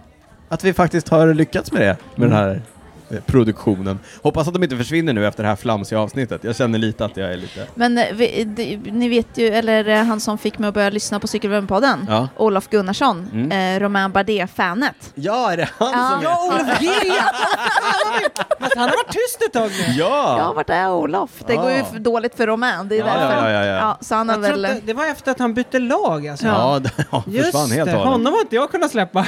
Speaker 1: att vi faktiskt har lyckats med det, med den här eh, produktionen. Hoppas att de inte försvinner nu efter det här flamsiga avsnittet. Jag känner lite att jag är lite...
Speaker 3: Men eh, vi, d- ni vet ju, eller eh, han som fick mig att börja lyssna på Cykelvärmen-podden,
Speaker 1: Ja. Mm.
Speaker 3: Olof Gunnarsson, eh, Romain Bardet-fanet.
Speaker 1: Ja, är det han
Speaker 3: Ja.
Speaker 1: som är?
Speaker 2: Ja, Olof G! Men han har varit tyst ett tag nu.
Speaker 3: Ja,
Speaker 1: Ja!
Speaker 3: vart är Olof? Det
Speaker 1: Ja.
Speaker 3: går ju f- dåligt för Romain, det är
Speaker 1: Ah. Ja,
Speaker 3: därför.
Speaker 1: ja, ja, ja.
Speaker 3: så han har
Speaker 2: Jag tror
Speaker 3: väl...
Speaker 2: att det, det var efter att han bytte lag alltså.
Speaker 1: Ja, d- ja försvann
Speaker 2: Just
Speaker 1: helt och
Speaker 2: det,
Speaker 1: hållet.
Speaker 2: honom har inte jag kunnat släppa.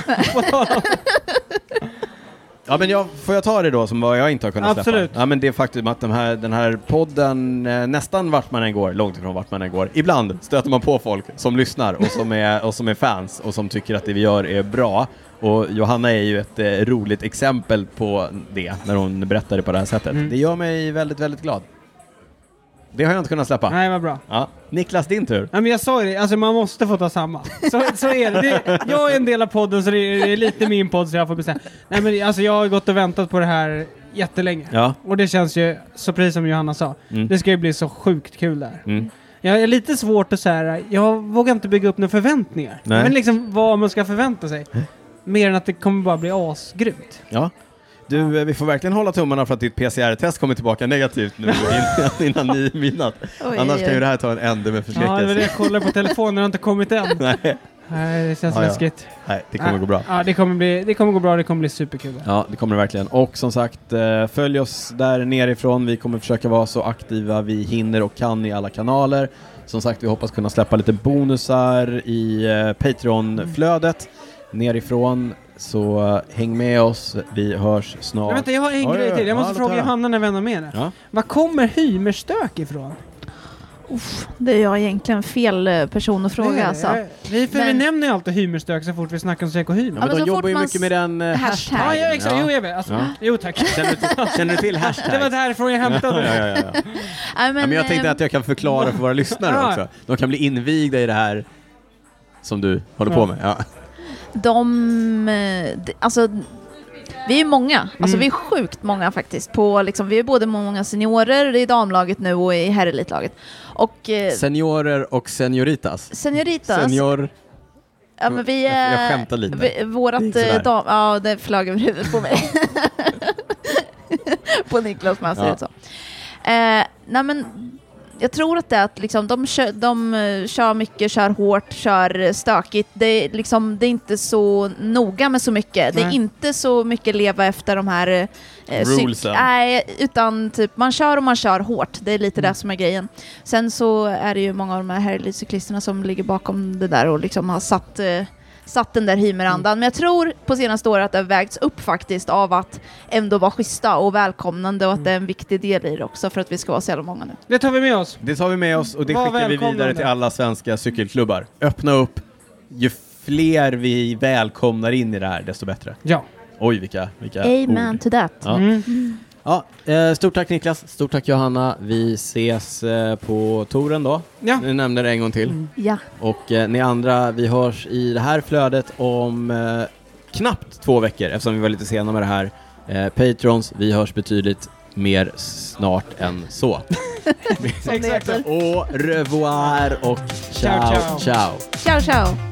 Speaker 1: Ja, men jag, får jag ta det då som vad jag inte har kunnat
Speaker 2: Absolut.
Speaker 1: släppa? Ja, men det faktum att de här, den här podden, eh, nästan vart man än går, långt ifrån vart man än går, ibland stöter man på folk som lyssnar och som är, och som är fans och som tycker att det vi gör är bra. Och Johanna är ju ett eh, roligt exempel på det, när hon berättade på det här sättet.
Speaker 2: Mm.
Speaker 1: Det gör mig väldigt, väldigt glad. Det har jag inte kunnat släppa.
Speaker 2: Nej, vad bra.
Speaker 1: Ja. Niklas, din tur.
Speaker 2: Ja, men jag sa ju det, alltså man måste få ta samma. Så, så är det. det. Jag är en del av podden så det är, det är lite min podd så jag får bestämma. Nej men alltså jag har gått och väntat på det här jättelänge.
Speaker 1: Ja.
Speaker 2: Och det känns ju, så precis som Johanna sa,
Speaker 1: Mm.
Speaker 2: det ska ju bli så sjukt kul där.
Speaker 1: Mm.
Speaker 2: Jag är lite svårt att säga, jag vågar inte bygga upp några förväntningar.
Speaker 1: Nej. Mm.
Speaker 2: Men liksom vad man ska förvänta sig. Mer än att det kommer bara bli asgrymt.
Speaker 1: Ja. Du, eh, vi får verkligen hålla tummarna för att ditt PCR-test kommer tillbaka negativt nu innan, innan ni midnatt.
Speaker 3: Oj,
Speaker 1: Annars
Speaker 3: oj,
Speaker 1: kan ju
Speaker 3: oj.
Speaker 1: det här ta en ände med
Speaker 2: Ja, det var det
Speaker 1: förskräckelse.
Speaker 2: jag kollade på telefonen, det har inte kommit än.
Speaker 1: Nej,
Speaker 2: Nej, det känns
Speaker 1: Ja, ja.
Speaker 2: läskigt.
Speaker 1: nej, det kommer gå bra.
Speaker 2: Ja, det kommer, bli, det kommer gå bra, det kommer bli superkul. där.
Speaker 1: Ja, det kommer det verkligen. Och som sagt, eh, följ oss där nerifrån. Vi kommer försöka vara så aktiva vi hinner och kan i alla kanaler. Som sagt, vi hoppas kunna släppa lite bonusar i eh, Patreon-flödet nerifrån. Så eh, häng med oss. Vi hörs
Speaker 2: Men
Speaker 1: snart.
Speaker 2: vänta, jag har en
Speaker 1: Ja,
Speaker 2: grej
Speaker 1: ja, ja.
Speaker 2: till. Jag
Speaker 1: Ja,
Speaker 2: måste
Speaker 1: låt
Speaker 2: fråga
Speaker 1: höra.
Speaker 2: Johanna när vi ändå är med där.
Speaker 1: Ja.
Speaker 2: Var kommer hymerstök ifrån?
Speaker 3: Uff, det är jag egentligen fel eh, person att
Speaker 2: Det är
Speaker 3: fråga
Speaker 2: det.
Speaker 3: alltså.
Speaker 2: Jag- Vi, för vi
Speaker 3: Men-
Speaker 2: nämner ju alltid hymerstök så fort vi snackar om psykohymer.
Speaker 1: Ja,
Speaker 2: Ja,
Speaker 1: men
Speaker 3: men
Speaker 1: de
Speaker 3: så fort
Speaker 1: jobbar ju
Speaker 3: man
Speaker 1: mycket med den eh,
Speaker 3: hashtag.
Speaker 1: hashtaggen.
Speaker 2: ja, exakt.
Speaker 1: Ja.
Speaker 2: Jo, jag vet. Alltså,
Speaker 1: Ja.
Speaker 2: Jo, tack.
Speaker 1: Känner du till, känner du till hashtag?
Speaker 2: Det var därifrån jag hämtade det.
Speaker 1: ja, ja, ja.
Speaker 3: Nej,
Speaker 1: Men, ehm, men jag tänkte
Speaker 3: eh,
Speaker 1: att jag kan förklara för våra lyssnare
Speaker 2: Ja.
Speaker 1: också. De kan bli invigda i det här som du håller på
Speaker 2: Ja.
Speaker 1: med. Ja.
Speaker 3: De, eh, d- alltså, vi är många, alltså
Speaker 2: Mm.
Speaker 3: vi är sjukt många faktiskt. På, liksom, vi är både många seniorer i damlaget nu och i herrelitlaget. Och eh,
Speaker 1: Seniorer och senioritas.
Speaker 3: senioritas,
Speaker 1: Senior...
Speaker 3: ja, men vi
Speaker 1: Jag- jag
Speaker 3: är-
Speaker 1: skämtar lite.
Speaker 3: Vi,
Speaker 1: Det
Speaker 3: vårat
Speaker 1: gick sådär.
Speaker 3: eh, dam, ja det flög över huvudet på mig. på Niklas med
Speaker 1: Ja.
Speaker 3: ja. så. Eh, nej men jag tror att det är att liksom, de, kör, de eh, kör mycket, kör hårt, kör eh, stökigt. Det är, liksom, det är inte så noga med så mycket. Det är
Speaker 2: Nej.
Speaker 3: inte så mycket leva efter de här... eh, eh, cyk-
Speaker 1: Rulesen.
Speaker 3: Nej, utan typ man kör och man kör hårt. Det är lite det som är grejen. Sen så är det ju många av de här herrelitcyklisterna som ligger bakom det där och liksom har satt, eh, satt den där hymerandan. Men jag tror på senaste året att det har vägts upp faktiskt av att ändå vara schyssta och välkomnande och att det är en viktig del i det också för att vi ska vara så jävla många nu.
Speaker 2: Det tar vi med oss.
Speaker 1: Det tar vi med oss och det
Speaker 2: Var
Speaker 1: skickar vi
Speaker 2: välkomnande.
Speaker 1: vidare till alla svenska cykelklubbar. Öppna upp. Ju fler vi välkomnar in i det här, desto bättre.
Speaker 2: Ja.
Speaker 1: Oj, vilka, vilka
Speaker 3: Amen
Speaker 1: ord.
Speaker 3: to that.
Speaker 1: Ja.
Speaker 2: Mm.
Speaker 1: Ja, eh, stort tack Niklas, stort tack Johanna. Vi ses eh, på touren då.
Speaker 2: Ja.
Speaker 1: Ni nämnde det en gång till.
Speaker 3: Ja.
Speaker 1: Och eh, ni andra, vi hörs i det här flödet om eh, knappt två veckor eftersom vi var lite sena med det här. Eh, Patrons, vi hörs betydligt mer snart än så.
Speaker 3: Som det
Speaker 2: Exakt.
Speaker 3: heter.
Speaker 1: Au revoir och
Speaker 2: Ciao,
Speaker 1: ciao.
Speaker 2: ciao.
Speaker 1: ciao.
Speaker 3: Ciao ciao!